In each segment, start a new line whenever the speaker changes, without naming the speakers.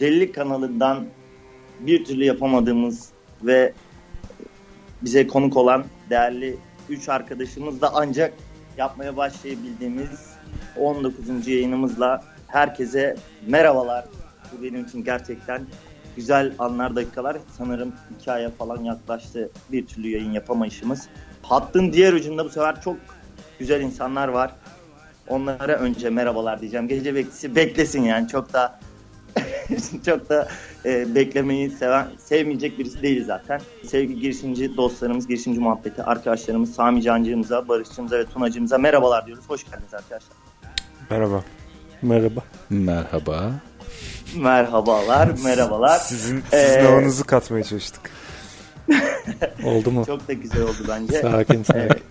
Delilik kanalından bir türlü yapamadığımız ve bize konuk olan değerli 3 arkadaşımız da ancak yapmaya başlayabildiğimiz 19. yayınımızla herkese merhabalar. Bu benim için gerçekten güzel anlar, dakikalar. Sanırım 2 aya falan yaklaştı bir türlü yayın yapamayışımız. Hattın diğer ucunda bu sefer çok güzel insanlar var. Onlara önce merhabalar diyeceğim. Gece bekçisi beklesin yani çok da çok da e, beklemeyi seven, sevmeyecek birisi değil zaten. Sevgili girişimci dostlarımız, girişimci muhabbeti arkadaşlarımız Sami Cancığımıza, Barışçımıza ve Tunacığımıza merhabalar diyoruz. Hoş geldiniz arkadaşlar.
Merhaba. Merhaba.
Merhaba.
Merhabalar, merhabalar.
Sizin,
Ee,
sizin havanızı katmaya çalıştık. Oldu mu?
Çok da güzel oldu bence. E,
Sakin sakin.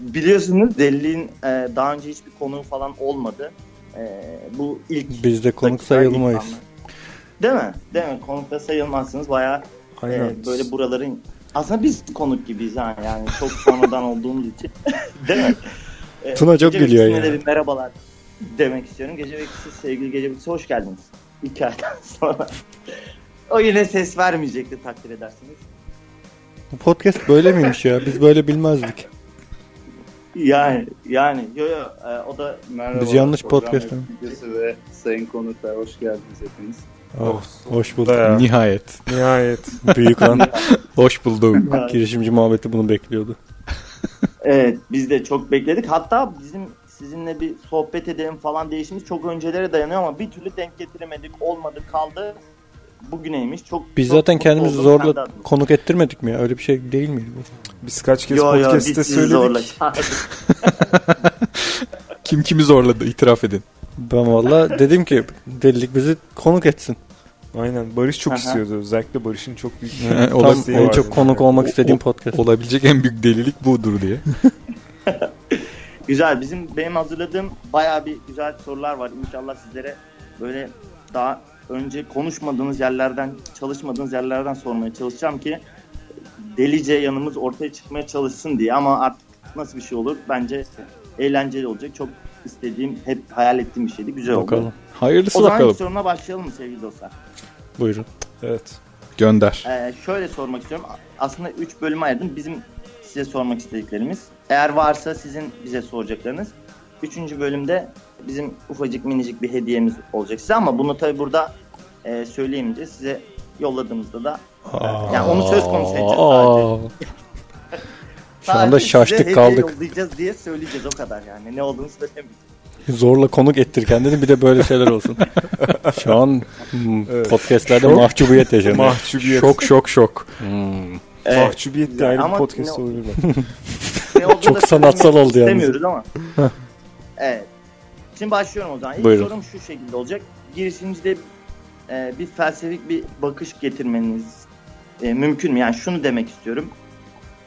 Biliyorsunuz Deli'nin e, daha önce hiçbir konuğu falan olmadı. E, bu ilk
Biz de konuk
dakikalar
sayılmayız.
insanlar. Değil mi? Değil mi? Konukta sayılmazsınız. Bayağı e,
Aynen.
böyle buraların... Aslında biz konuk gibiyiz ha yani. Çok sonradan olduğumuz için. Değil mi? E,
Tuna çok
Gece
gülüyor
Bekçisi'ne
ya.
de bir merhabalar demek istiyorum. Gece Bekçisi, sevgili Gece Bekçisi hoş geldiniz. İki aydan sonra. o yine ses vermeyecekti takdir edersiniz.
Bu podcast böyle miymiş ya? Biz böyle bilmezdik.
Yani yani yo yo e, o da
Merhaba.
Biz yanlış
program
podcast mi?
yapımcısı ve sayın konuklar hoş geldiniz hepiniz.
Oh, hoş bulduk.
Bayağı.
Nihayet.
Nihayet.
Büyük an.
Hoş buldum.
Girişimci muhabbeti bunu bekliyordu.
Evet biz de çok bekledik. Hatta bizim sizinle bir sohbet edelim falan değişimiz çok öncelere dayanıyor ama bir türlü denk getiremedik. Olmadı kaldı. Bugüneymiş. Çok
Biz
çok
zaten
mutlu
kendimizi
oldum. Sen de
zorla
adına.
konuk ettirmedik mi ya? Öyle bir şey değil miydi bu?
Biz kaç kez
Yo yo biz
podcast'te
sizi
söyledik.
zorla.
Kim kimi zorladı itiraf edin.
Ben valla dedim ki delilik bizi konuk etsin.
Aynen. Barış çok
Aha.
istiyordu. Özellikle Barış'ın çok büyük
Ee,
bir
o da-
Tam
isteği
en
vardı.
çok konuk olmak
O-
istediğim
o-
podcast.
Olabilecek en büyük delilik budur diye.
Güzel. Bizim benim hazırladığım bayağı bir güzel sorular var. İnşallah sizlere böyle daha önce konuşmadığınız yerlerden, çalışmadığınız yerlerden sormaya çalışacağım ki delice yanımız ortaya çıkmaya çalışsın diye ama artık nasıl bir şey olur? Bence eğlenceli olacak. Çok istediğim, hep hayal ettiğim bir şeydi. Güzel oldu.
Bakalım.
Hayırlısı
O zaman
bakalım.
ilk sorumla başlayalım mı sevgili dostlar?
Buyurun.
Evet.
Gönder.
Ee, şöyle sormak istiyorum. Aslında 3 bölüme ayırdım. Bizim size sormak istediklerimiz. Eğer varsa sizin bize soracaklarınız. 3. bölümde bizim ufacık minicik bir hediyemiz olacak size ama bunu tabi burada e, söyleyemeyince size yolladığımızda da yani onu söz konusu edeceğiz sadece.
Aa, Şu anda
Sadece size
şaştık
hediye
kaldık.
yollayacağız diye söyleyeceğiz o kadar yani. Ne olduğunu söylemeyeceğiz.
Zorla konuk ettir kendini bir de böyle şeyler olsun. Şu an hmm,
Evet.
podcastlerde mahcubiyet yaşanıyor.
Mahcubiyet.
Şok şok şok.
Hmm.
Evet,
Mahcubiyet de ayrı bir
Ama
podcast
ne-
olabilir. bak.
ne olduğunu
Çok
da
sanatsal
söylemek
oldu yalnız.
istemiyoruz ama. evet. Şimdi başlıyorum o zaman. İlk
Buyurun.
sorum şu şekilde olacak. Girişimcide e, bir felsefik bir bakış getirmeniz e, mümkün mü? Yani şunu demek istiyorum.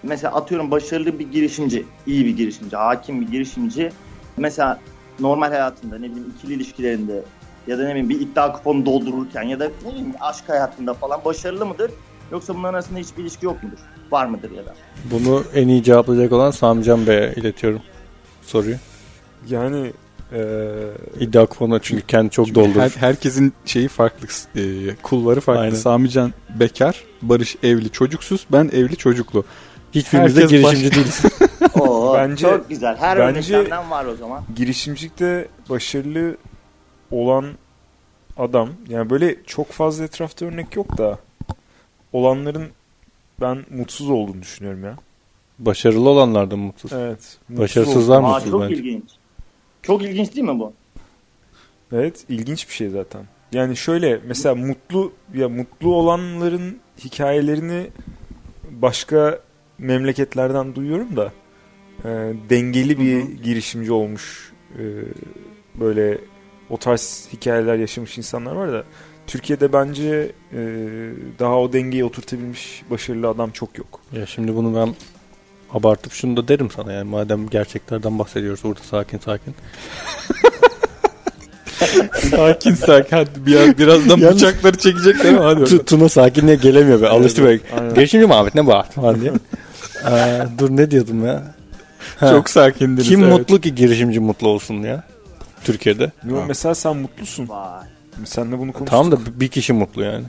Mesela atıyorum başarılı bir girişimci, iyi bir girişimci, hakim bir girişimci. Mesela normal hayatında ne bileyim ikili ilişkilerinde ya da ne bileyim bir iddia kuponu doldururken ya da ne bileyim aşk hayatında falan başarılı mıdır? Yoksa bunların arasında hiçbir ilişki yok mudur? Var mıdır ya da?
Bunu en iyi cevaplayacak olan Samcan Bey'e iletiyorum soruyu.
Yani e, eee
İddia kuponuna çünkü kendi çok
Her-
doldurur.
herkesin şeyi farklı. e, kulları farklı.
Aynen.
Samican bekar. Barış evli çocuksuz. Ben evli çocuklu.
Hiçbirimiz de
herkes
girişimci değiliz.
Oo,
Bence-
çok güzel. Her
bence-
örneklerden var o zaman.
girişimcilikte başarılı olan adam yani böyle çok fazla etrafta örnek yok da olanların ben mutsuz olduğunu düşünüyorum ya.
Başarılı olanlardan mutsuz.
Evet. mutsuz
Başarısızlar
olduğunu-
Aa,
mutsuz
çok
bence.
ilginç. Çok ilginç değil mi bu?
Evet, ilginç bir şey zaten. Yani şöyle mesela mutlu ya mutlu olanların hikayelerini başka memleketlerden duyuyorum da e, dengeli bir
Hı hı.
girişimci olmuş e, böyle o tarz hikayeler yaşamış insanlar var da Türkiye'de bence e, daha o dengeyi oturtabilmiş başarılı adam çok yok.
Ya şimdi bunu ben abartıp şunu da derim sana yani madem gerçeklerden bahsediyoruz orada sakin sakin.
sakin sakin. Hadi bir, birazdan
Yalnız-
bıçakları çekecekler ama hadi.
Tu- Tuna sakinliğe gelemiyor be alıştı böyle.
Aynen.
Girişimci Muhammed ne bağır falan diye. Ee, dur ne diyordum ya? Ha.
Çok sakindiniz.
Kim
evet.
mutlu ki girişimci mutlu olsun ya? Türkiye'de.
Yo, Mesela sen mutlusun.
Vay.
Senle bunu konuştuk.
Tamam da bir kişi mutlu yani.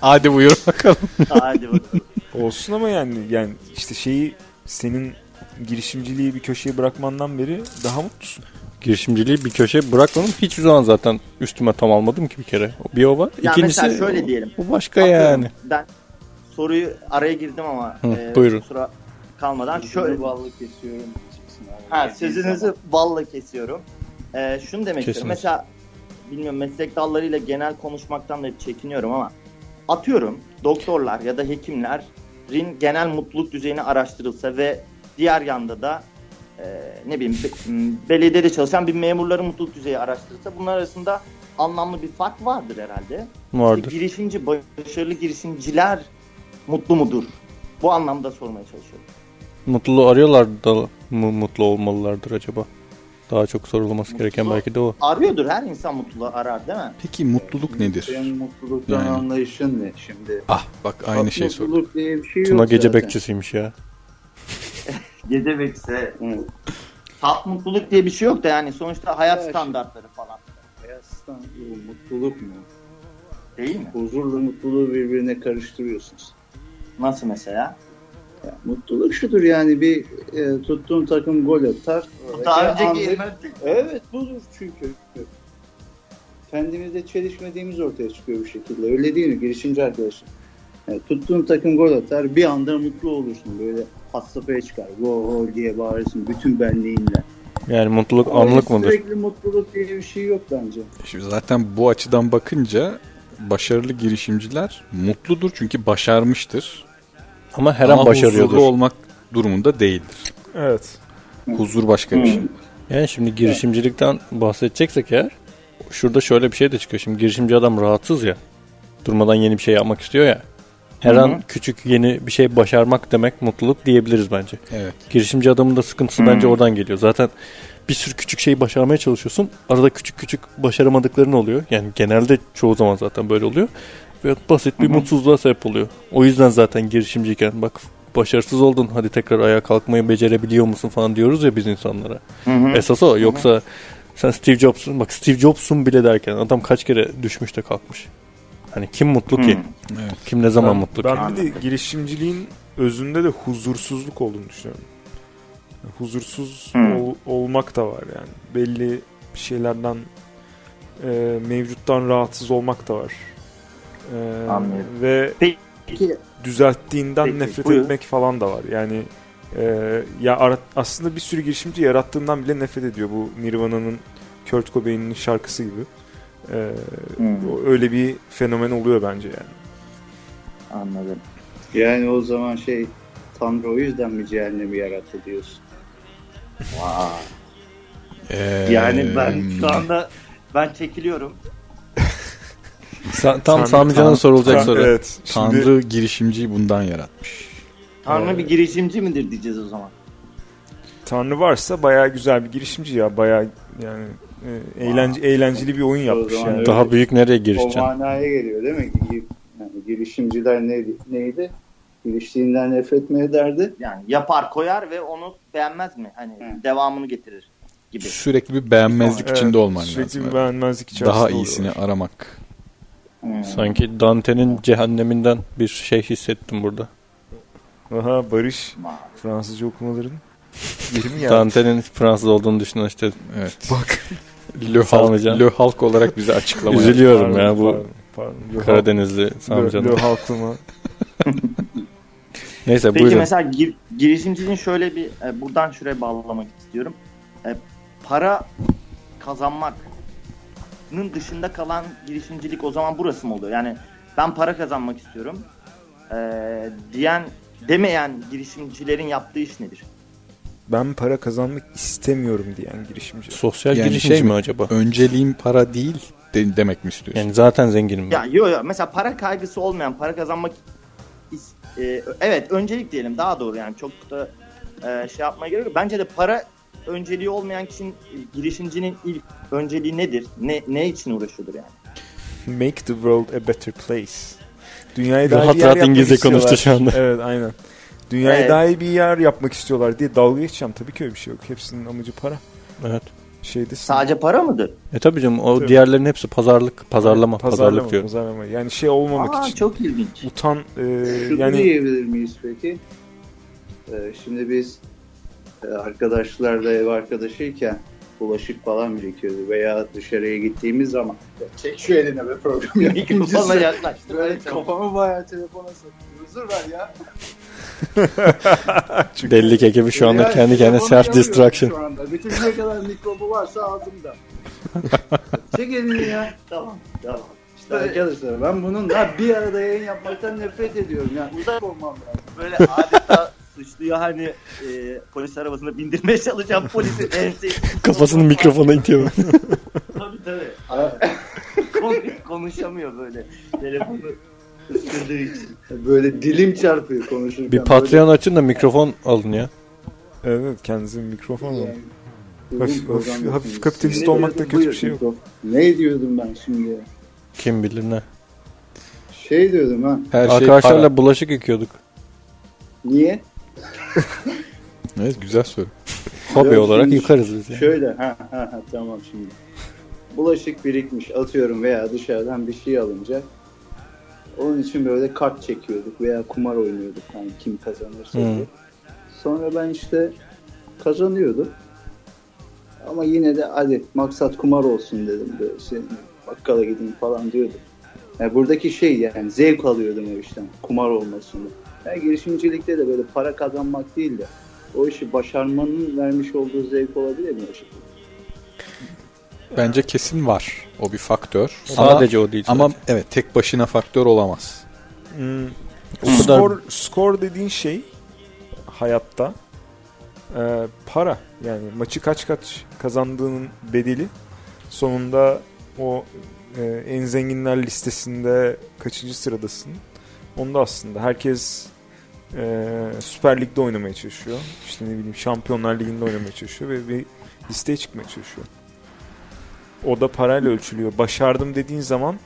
Hadi buyur bakalım.
Hadi bakalım.
Olsun ama yani yani işte şeyi senin girişimciliği bir köşeye bırakmandan beri daha mutlusun.
Girişimciliği bir köşeye bırakmadım. Hiç zaman zaten üstüme tam almadım ki bir kere. Bir o var.
Ya
İkincisi
mesela şöyle diyelim.
Bu başka
Atıyorum,
yani.
Ben soruyu araya girdim ama e,
Hı, buyurun.
kusura kalmadan şöyle
Şöyle ballı kesiyorum. Çıksın abi.
Ha,
Dediği
sözünüzü
zaman.
balla kesiyorum. Ee, şunu demek istiyorum.
Kesiniz.
Mesela bilmiyorum meslek dallarıyla genel konuşmaktan da çekiniyorum ama atıyorum doktorlar ya da hekimlerin genel mutluluk düzeyini araştırılsa ve diğer yanda da e, ne bileyim be- m, belediyede çalışan bir memurların mutluluk düzeyi araştırılsa bunlar arasında anlamlı bir fark vardır herhalde. İşte
Vardır.
girişimci, başarılı girişimciler mutlu mudur? Bu anlamda sormaya çalışıyorum.
Mutluluğu arıyorlar da mı mutlu olmalılardır acaba? Daha çok sorulması gereken
Mutlu-
belki de o.
Arıyordur her insan mutluluğu arar değil mi?
Peki mutluluk nedir?
Senin mutluluktan
Yani.
anlayışın ne şimdi?
Ah bak aynı şey sordum.
Mutluluk diye bir şey yok
Tuna gece
zaten.
bekçisiymiş ya.
Gece bekse
Hı.
tat mutluluk diye bir şey yok da yani sonuçta hayat
Evet.
standartları falan
Hayattan bu mutluluk mu?
değil mi?
Huzurla mutluluğu birbirine karıştırıyorsunuz.
Nasıl mesela?
Ya, mutluluk şudur yani bir e, tuttuğun takım gol atar.
Daha
Oradaki
önceki
anlık- Evet budur çünkü. Kendimizde çelişmediğimiz ortaya çıkıyor bir şekilde. Öyle değil mi girişimci arkadaşım? Yani tuttuğun takım gol atar bir anda mutlu olursun. Böyle hassafaya çıkar. Gol gol diye bağırırsın bütün benliğinle.
Yani mutluluk
Ama
anlık mıdır?
Sürekli mutluluk diye bir şey yok bence.
Şimdi zaten bu açıdan bakınca başarılı girişimciler mutludur çünkü başarmıştır.
Ama her an
Ama
başarıyordur.
huzurlu olmak durumunda değildir.
Evet.
Huzur başka bir
Hmm.
şey.
Yani şimdi girişimcilikten bahsedeceksek eğer şurada şöyle bir şey de çıkıyor. Şimdi girişimci adam rahatsız ya. Durmadan yeni bir şey yapmak istiyor ya. Her
Hı hı.
an küçük yeni bir şey başarmak demek mutluluk diyebiliriz bence.
Evet.
Girişimci adamın da sıkıntısı
Hı.
bence oradan geliyor. Zaten bir sürü küçük şeyi başarmaya çalışıyorsun. Arada küçük küçük başaramadıkların oluyor. Yani genelde çoğu zaman zaten böyle oluyor. Ve basit bir
Hı hı.
mutsuzluğa sebep oluyor. O yüzden zaten girişimciyken bak başarısız oldun hadi tekrar ayağa kalkmayı becerebiliyor musun falan diyoruz ya biz insanlara. Esas o. Yoksa sen Steve Jobs'un bak Steve Jobs'un bile derken adam kaç kere düşmüş de kalkmış. Hani kim mutlu ki?
Hmm.
Evet.
Kim ne zaman
Ben-
mutlu ki?
Ben bir de girişimciliğin özünde de huzursuzluk olduğunu düşünüyorum. Yani Huzursuz
Hmm.
ol- olmak da var yani. Belli bir şeylerden e, mevcuttan rahatsız olmak da var. E,
Anlıyorum.
Ve
Peki
düzelttiğinden
Peki,
nefret
buyur.
etmek falan da var. Yani e, ya ara- aslında bir sürü girişimci yarattığından bile nefret ediyor. Bu Nirvana'nın Kurt Cobain'in şarkısı gibi. E,
Hmm.
o- öyle bir fenomen oluyor bence yani.
anladım.
Yani o zaman şey Tanrı o yüzden mi cehennemi yarattı diyorsun?
Vay.
Ee,
Yani ben şu anda ben çekiliyorum.
Sa- tam
Tanrı-
Sami Can'a
Tanrı-
sorulacak
Tan-
soru.
Evet. Şimdi
Tanrı girişimciyi bundan yaratmış.
Tanrı
Ee,
bir girişimci midir diyeceğiz o zaman.
Tanrı varsa bayağı güzel bir girişimci ya. Bayağı yani e, eğlence eğlenceli bir oyun yapmış
zaman
yani.
öyle-
Daha büyük nereye
O
girişeceksin?
manaya geliyor değil mi? Gi- Yani girişimciler neydi? neydi? Giriştiğinden nefret mi ederdi?
Yani yapar koyar ve onu beğenmez mi? Hani
Hı.
devamını getirir gibi.
Sürekli bir beğenmezlik
Evet,
içinde olman
sürekli
lazım.
bir
evet.
beğenmezlik içerisinde
Daha iyisini
oluyorlar.
aramak.
Hmm.
Sanki Dante'nin cehenneminden bir şey hissettim burada.
Aha Barış
Vay.
Fransızca okumaların.
Dante'nin Fransız olduğunu düşünen işte
Evet. Bak. Le
Sami
halk,
Can.
Le halk olarak bize açıklama. yap.
Üzülüyor. Biliyorum
Pardon,
ya, bu
pardon, pardon. Lö-
Karadenizli Sami
Lö,
Can.
Lö halkıma.
Neyse
Peki
buyurun.
mesela gir- girişimcinin şöyle bir e, buradan şuraya bağlamak istiyorum. E, para kazanmakın dışında kalan girişimcilik o zaman burası mı oluyor? Yani ben para kazanmak istiyorum e, diyen demeyen girişimcilerin yaptığı iş nedir?
Ben para kazanmak istemiyorum diyen girişimci.
Sosyal
Yani
girişimci
şey
mi
mi?
acaba?
Önceliğim para değil de- demek mi istiyorsun?
Yani zaten zenginim ben.
Ya yo yo mesela para kaygısı olmayan para kazanmak is- e, evet öncelik diyelim daha doğru yani çok da e, şey yapmaya gerek yok. Bence de para önceliği olmayan kişinin girişimcinin ilk önceliği nedir? Ne ne için uğraşıyordur yani?
Make the world a better place. Dünyayı daha
Rahat
iyi yer
rahat
yapmak
İngilizce
istiyorlar.
konuştu şu anda.
Evet aynen. Dünyayı
Evet.
daha iyi bir yer yapmak istiyorlar diye dalga geçeceğim. Tabii ki öyle bir şey yok. Hepsinin amacı para.
Evet.
şeyde
Sadece para mıdır?
E tabii canım o
Tabii.
diğerlerin hepsi pazarlık, pazarlama, pazarlık diyorum.
pazarlama. Yani şey olmamak
Aa
için.
çok ilginç.
Utan e,
Şunu
yani
diyebilir miyiz peki? Ee, şimdi biz e, arkadaşlarla ev arkadaşıyken bulaşık falan birikiyordu veya dışarıya gittiğimiz zaman "Ya çek şu eline be program
Mikrofonla
yapımcısı.
yaklaştı.
Böyle kafamı bayağı telefona sokuyor. Huzur ver ya.
Delilik ekibi şu anda
Ya,
kendi kendine
telefonu
self distraction.
yapıyorum şu anda. Bütün ne kadar mikrobu varsa ağzımda. çek elini ya.
Tamam tamam.
İşte arkadaşlar ben bununla bir arada yayın yapmaktan nefret ediyorum. Yani uzak olmam lazım.
Böyle adeta suçluyu hani e, polis arabasına bindirmeye çalışan polisin ensesi.
Kafasını mikrofona itiyor.
Tabii tabii. Kon- konuşamıyor böyle. Telefonu ısırdığı için.
Böyle dilim çarpıyor konuşurken.
bir Patreon açın da mikrofon alın ya.
evet kendinize mikrofon alın.
Yani bugün
Hafif-
program
hafif-
yapıyoruz.
hafif kapitalist
Şimdi
olmakta
diyordum,
kötü bir
buyur
şey yok.
mikrofon. Ne diyordum ben şimdi?
Kim bilir ne.
Şey diyordum ha.
Her şey
Arkadaşlarla
para.
bulaşık yıkıyorduk.
Niye?
Evet güzel soru.
Hobi
Yok,
olarak
şimdi
yıkarız biz yani.
Şöyle ha ha ha tamam şimdi. Bulaşık birikmiş atıyorum veya dışarıdan bir şey alınca onun için böyle kart çekiyorduk veya kumar oynuyorduk hani kim kazanırsa
Hı.
diye. Sonra ben işte kazanıyordum. Ama yine de hadi maksat kumar olsun dedim böyle şey, bakkala gideyim falan diyordum. Yani buradaki şey yani zevk alıyordum o işten kumar olmasını. Yani girişimcilikte de böyle para kazanmak değil de o işi başarmanın vermiş olduğu zevk olabilir mi o şekilde?
Bence kesin var. O bir faktör.
Sadece o değil.
ama, ama
sadece.
evet tek başına faktör olamaz.
Hmm,
O kadar-
skor, skor dediğin şey hayatta e, para. Yani maçı kaç kaç kazandığının bedeli sonunda o e, en zenginler listesinde kaçıncı sıradasın. Onda aslında herkes e, Süper Lig'de oynamaya çalışıyor. İşte ne bileyim Şampiyonlar Ligi'nde oynamaya çalışıyor ve bir listeye çıkmaya çalışıyor. O da parayla ölçülüyor. Başardım dediğin zaman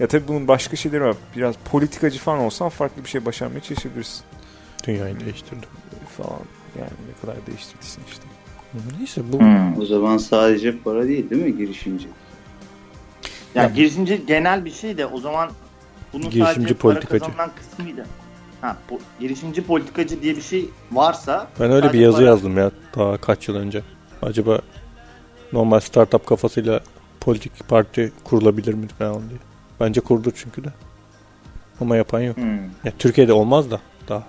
ya tabii bunun başka şeyleri var. Biraz politikacı falan olsan farklı bir şey başarmaya çalışabilirsin
Dünyayı değiştirdi.
falan. Yani ne kadar değiştirdiysen işte.
Neyse bu
O zaman sadece para değil değil mi girişimci?
Ya girişimci genel bir şey de o zaman bunun
Girişimci
sadece
politikacı.
para kazanan kısmıydı. Ha, po- girişimci politikacı diye bir şey varsa
Ben öyle bir
Sadece
yazı
para-
yazdım ya daha kaç yıl önce. Acaba normal startup kafasıyla politik parti kurulabilir mi falan diye. Bence kurdu çünkü de. Ama yapan yok.
hmm,
Ya Türkiye'de olmaz da daha.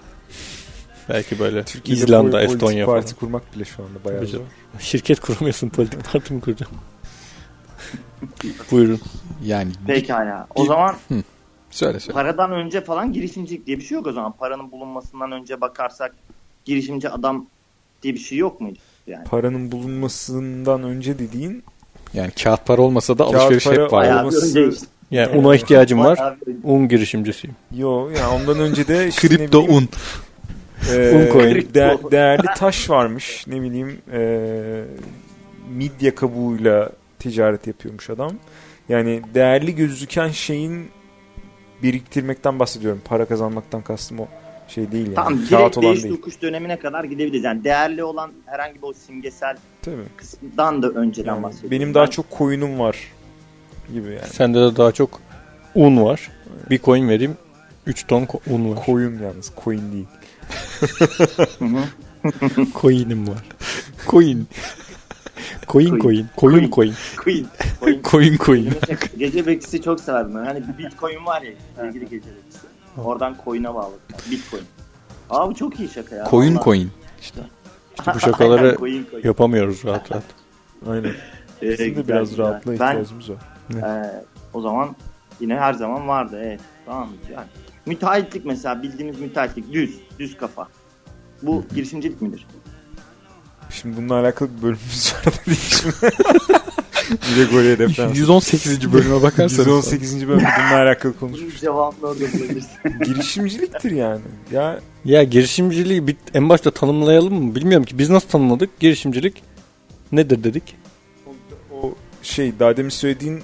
Belki böyle
Türkiye'de
İzlanda,
pol- politik
Estonya falan.
parti kurmak bile şu anda bayağı
Tabii
zor.
canım. Şirket kuramıyorsun politik parti mi kuracaksın? Buyurun.
Yani bir-
pekala. O zaman
söyle söyle.
paradan önce falan girişimcilik diye bir şey yok o zaman. Paranın bulunmasından önce bakarsak girişimci adam diye bir şey yok muydu? Yani
Paranın bulunmasından önce dediğin
Yani kağıt para olmasa da
Kağıt
alışveriş
para
hep var.
ayağı-
bayağı bir
olması-
önce işte.
Yani una ihtiyacım var.
Bayağı bir-
Un girişimcisiyim.
yo ya ondan önce de işte ne
Kripto
bileyim,
un.
e,
Un koyun.
de- değerli taş varmış. Ne bileyim e, midye kabuğuyla ticaret yapıyormuş adam. Yani değerli gözüken şeyin biriktirmekten bahsediyorum. Para kazanmaktan kastım o şey değil yani.
Tamam
Kağıt
direkt
olan
değiş
değil.
dokuş dönemine kadar gidebiliriz. Yani değerli olan herhangi bir o simgesel
Tabii.
kısımdan da önceden
Yani
bahsediyorum.
benim daha
Ben-
çok koyunum var gibi yani.
Sende de daha çok un var. Bir coin vereyim. 3 ton ko- un var.
Koyun yalnız koyun değil.
Hı hı.
Coin'im var. Coin. Coin
Coin.
coin. Koyun coin.
Queen. Queen.
Koyun koyun.
gece bekçisi çok severdim. ben. Hani bir bitcoin var ya sevgili gece bekçisi. Oradan coin'e bağlı. Bitcoin. Abi çok iyi şaka ya.
Koyun
Vallahi.
koyun.
Bu şakaları
Coin, coin.
yapamıyoruz rahat rahat.
Aynen.
Ee,
Bizim de
güzel,
biraz
güzel.
rahatlığa
Ben
ihtiyacımız var.
e, o zaman yine her zaman vardı. Evet. Tamam güzel. Müteahhitlik mesela bildiğimiz müteahhitlik düz, düz kafa. Bu girişimcilik midir?
Şimdi bununla alakalı bir bölümümüz var da değil şimdi. Bir de Gore'ye deprem.
118. bölüme bakarsanız.
118. bölümde bununla alakalı
Bunun
konuşmuş.
cevabını orada bulabilirsin.
Girişimciliktir yani. Ya
Ya girişimciliği bir, en başta tanımlayalım mı? Bilmiyorum ki biz nasıl tanımladık? Girişimcilik nedir dedik?
o, o şey daha demin söylediğin e,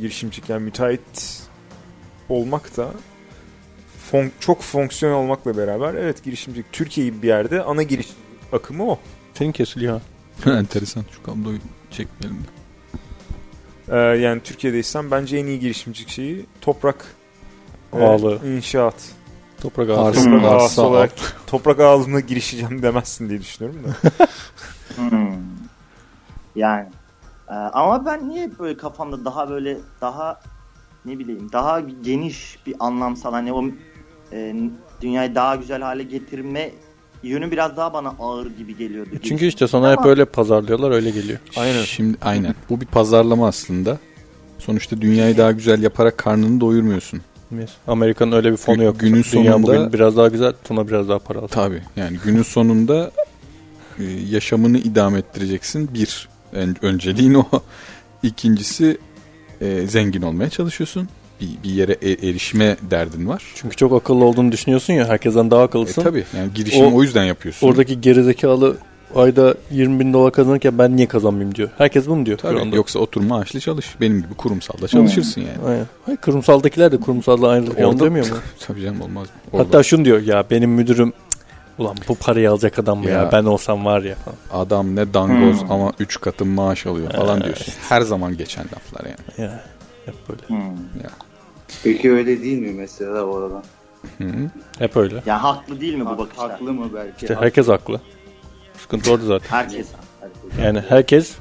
girişimcilik yani müteahhit olmak da fon- çok fonksiyon olmakla beraber evet girişimcilik Türkiye'yi bir yerde ana giriş akımı o.
Senin kesiliyor ha.
Enteresan. Şu kabloyu çekmeyelim. de.
Ee, yani Türkiye'deysem bence en iyi girişimcilik şeyi toprak e,
Ağalığı.
inşaat.
Toprak
Arsa,
ağası.
Toprak
arsa,
ağası olarak toprak ağalığına girişeceğim demezsin diye düşünüyorum da.
Hmm. Yani. Ee, ama ben niye hep böyle kafamda daha böyle daha ne bileyim daha geniş bir anlamsal hani o e, dünyayı daha güzel hale getirme yönü biraz daha bana ağır gibi geliyordu.
E, Çünkü işte sana hep öyle pazarlıyorlar öyle geliyor.
Aynen.
Şimdi aynen. Bu bir pazarlama aslında. Sonuçta dünyayı daha güzel yaparak karnını doyurmuyorsun.
Amerika'nın öyle bir fonu
Gü-
yok.
günün
Dünya
sonunda-
bugün biraz daha güzel, Tuna biraz daha para alsın.
Tabii. Yani günün sonunda e, yaşamını idame ettireceksin. Bir. En, önceliğin o. İkincisi e, zengin olmaya çalışıyorsun. Bir, bir yere e- erişme derdin var.
Çünkü çok akıllı olduğunu düşünüyorsun ya. Herkesten daha
E,
akıllısın.
tabii. Yani girişimi
O-
o, yüzden yapıyorsun.
Oradaki gerizekalı ayda 20 bin dolar kazanırken ben niye kazanmayayım diyor. Herkes bunu diyor. şu
Tabii.
anda.
Yoksa oturma maaşlı çalış. Benim gibi kurumsalda çalışırsın yani.
Aynen. Hayır, kurumsaldakiler de kurumsalla ayrılık
Orada-
yolu Hmm. demiyor mu?
Tabii canım olmaz. Orada
Hatta şunu diyor ya benim müdürüm "Cık, ulan bu parayı alacak adam mı ya,
Ya.
ben olsam var ya falan.
adam ne dangoz
Hmm.
ama 3 katın maaş alıyor falan diyorsun. Her zaman geçen laflar yani.
Ya, hep böyle.
Hmm.
Peki öyle değil mi mesela bu arada?
Hı.
Hep öyle.
Ya haklı değil mi bu bakışlar?
Haklı mı belki?
İşte herkes haklı. Sıkıntı orada zaten.
Herkes.
Yani herkes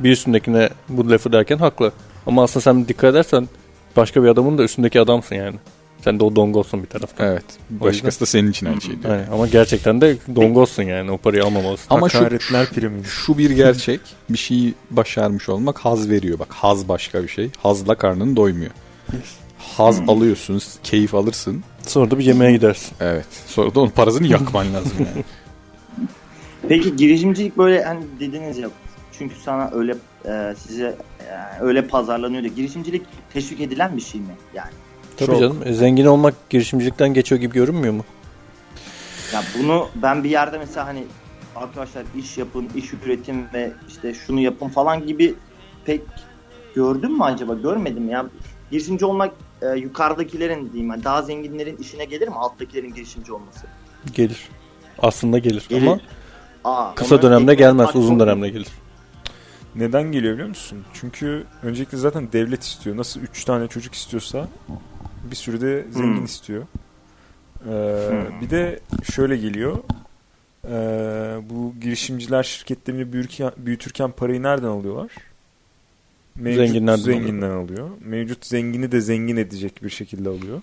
bir üstündekine bu lafı derken haklı. Ama aslında sen dikkat edersen başka bir adamın da üstündeki adamsın yani. Sen de o dongolsun bir tarafta.
Evet. Başkası da senin için aynı şey diyor.
Aynen. Ama gerçekten de dongolsun yani o parayı almamalısın.
Ama şu,
Hakaretler primi.
şu bir gerçek. Bir şeyi başarmış olmak haz veriyor. Bak haz başka bir şey. Hazla karnın doymuyor. Haz alıyorsun, keyif alırsın.
Sonra da bir yemeğe gidersin.
Evet. Sonra da onun parasını yakman lazım yani.
Peki girişimcilik böyle hani dediniz ya çünkü sana öyle e, size e, öyle pazarlanıyor diye. Girişimcilik teşvik edilen bir şey mi? Yani
Tabii
Çok.
canım. E, Zengin olmak girişimcilikten geçiyor gibi görünmüyor mu?
Ya bunu ben bir yerde mesela hani arkadaşlar iş yapın, iş üretin ve işte şunu yapın falan gibi pek gördüm mü acaba? Görmedim ya. Girişimci olmak e, yukarıdakilerin diyeyim yani daha zenginlerin işine gelir mi alttakilerin girişimci olması?
Gelir. Aslında gelir,
Gelir.
ama
Aa,
kısa
ona
dönemde
ekmek
gelmez,
atmak
uzun
çok-
dönemde gelir.
Neden geliyor biliyor musun? Çünkü öncelikle zaten devlet istiyor. Nasıl 3 tane çocuk istiyorsa bir sürü de zengin
Hmm.
istiyor. Ee, Bir de şöyle geliyor. Ee, bu girişimciler şirketlerini büyürken, büyütürken parayı nereden alıyorlar? Mevcut
Zenginlerden
zenginden alıyor. Mevcut zengini de zengin edecek bir şekilde alıyor.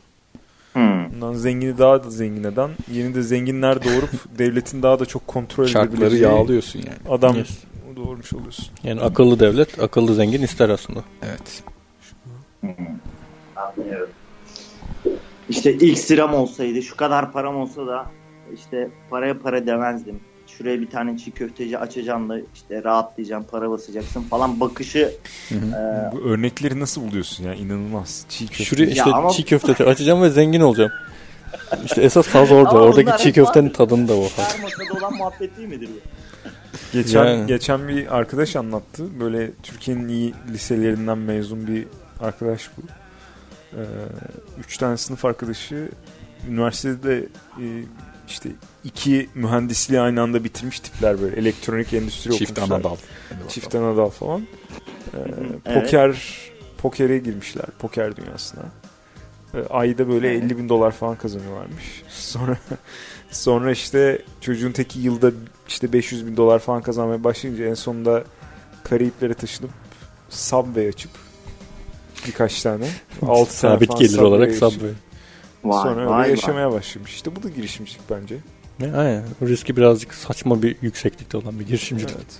Hmm.
Bundan zengini daha da zengin eden, yeni de zenginler doğurup devletin daha da çok kontrol
Çarkları
edebileceği
yağlıyorsun yani.
adam
Yes.
doğurmuş oluyorsun.
Yani akıllı devlet, akıllı zengin ister aslında.
Evet.
Anlıyorum. İşte ilk sıram olsaydı, şu kadar param olsa da işte paraya para demezdim. Şuraya bir tane çiğ köfteci açacağım da işte rahatlayacağım, para basacaksın falan bakışı
Bu örnekleri nasıl buluyorsun ya? İnanılmaz. Çiğ köfte.
Şuraya işte
ama-
çiğ köfte açacağım ve zengin olacağım. İşte esas haz orada.
Ama bunlar
Oradaki çiğ
hep
köftenin
var.
tadını da o haz.
her masada olan muhabbet değil midir bu?
geçen
Yani.
geçen bir arkadaş anlattı. Böyle Türkiye'nin iyi liselerinden mezun bir arkadaş bu. Ee, üç tane sınıf arkadaşı üniversitede e, işte iki mühendisliği aynı anda bitirmiş tipler böyle. Elektronik endüstri
Çift
okumuşlar.
anadal.
Çift anadal falan. Ee,
Evet.
Poker pokere girmişler. Poker dünyasına. Ee, ayda böyle
Evet.
50 bin dolar falan kazanıyorlarmış. Sonra sonra işte çocuğun teki yılda işte 500 bin dolar falan kazanmaya başlayınca en sonunda Karayiplere taşınıp Subway açıp birkaç tane. 6 tane
Sabit
falan
gelir
Subway
olarak
açıp
Subway.
Sonra öyle yaşamaya başlamış. İşte bu da girişimcilik bence.
Ne? Aynen. Riski birazcık saçma bir yükseklikte olan bir girişimcilik.
Evet.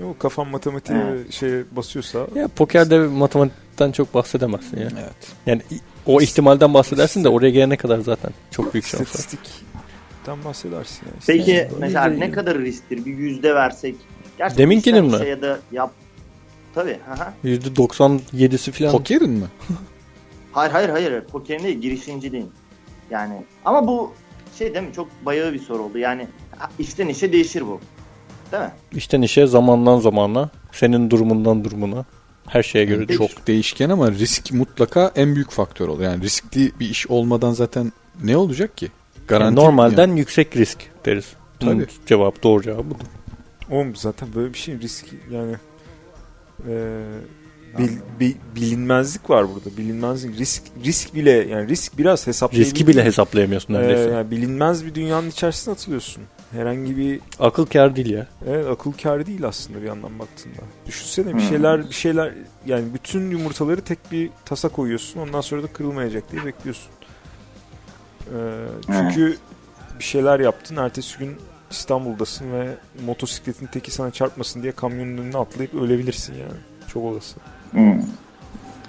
Yok kafan matematiğe
Evet.
şey basıyorsa
Ya pokerde matematikten çok bahsedemezsin ya.
Evet.
Yani i- o ihtimalden bahsedersin de oraya gelene kadar zaten çok büyük şans var.
İstatistikten bahsedersin. Yani.
Peki
Yani
mesela
öyle
ne
değil.
kadar risktir? Bir yüzde versek. Gerçi
Deminkinin
işten
mi?
işe Ya da yap. Tabii. Hı hı.
%97'si falan.
Pokerin mi?
Hayır hayır hayır. Pokerin değil, girişimciliğin. Yani ama bu şey değil mi? Çok bayağı bir soru oldu. Yani işten işe değişir bu. Değil mi?
İşten işe zamandan zamana, senin durumundan durumuna, her şeye göre çok.
Çok değişken ama risk mutlaka en büyük faktör olur. Yani riskli bir iş olmadan zaten ne olacak ki?
Yani
Garanti
normalden yüksek risk deriz. Bunun
Tabii.
cevap doğru cevap budur.
Oğlum zaten böyle bir şey risk yani e, bil- bi- bilinmezlik var burada. Bilinmezlik risk risk bile yani risk biraz hesaplayabildiğin
Riski bile hesaplayamıyorsun
e,
neredeyse.
yani bilinmez bir dünyanın içerisine atılıyorsun. Herhangi bir
Akıl kâr değil ya.
Evet akıl kârı değil aslında bir yandan baktığında. Düşünsene bir
Hmm.
şeyler bir şeyler yani bütün yumurtaları tek bir tasa koyuyorsun. Ondan sonra da kırılmayacak diye bekliyorsun. Ee, çünkü bir şeyler yaptın. Ertesi gün İstanbul'dasın ve motosikletin teki sana çarpmasın diye kamyonun önüne atlayıp ölebilirsin yani. Çok olası.
Hı.
Hmm.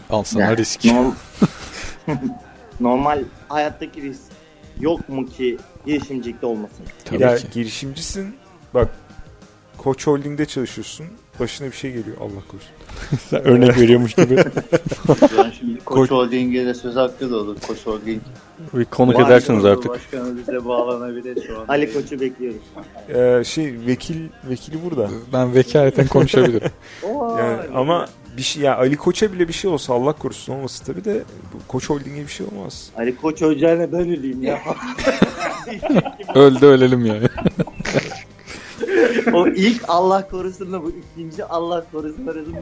Al sana
Yani.
risk.
Nor- Normal hayattaki risk yok mu ki girişimcilikte olmasın?
Tabii
ya
ki.
girişimcisin. Bak Koç Holding'de çalışıyorsun. Başına bir şey geliyor Allah korusun.
Sen örnek veriyormuş gibi.
Yani şimdi Koç Holding'e de söz hakkı da olur. Koç Holding.
Bir konuk
Vay
edersiniz
be,
artık.
Başkanı bize bağlanabilir şu an.
Ali Koç'u bekliyoruz.
Ee, şey vekil vekili burada.
Ben vekaleten konuşabilirim.
Yani ama bir şey ya Ali Koç'a bile bir şey olsa Allah korusun olması tabii de bu Koç Holding'e bir şey olmaz.
Ali Hani Koç öleceğine ben öleyim ya.
Öl de ölelim yani.
o ilk Allah korusunda bu ikinci Allah korusun arasında.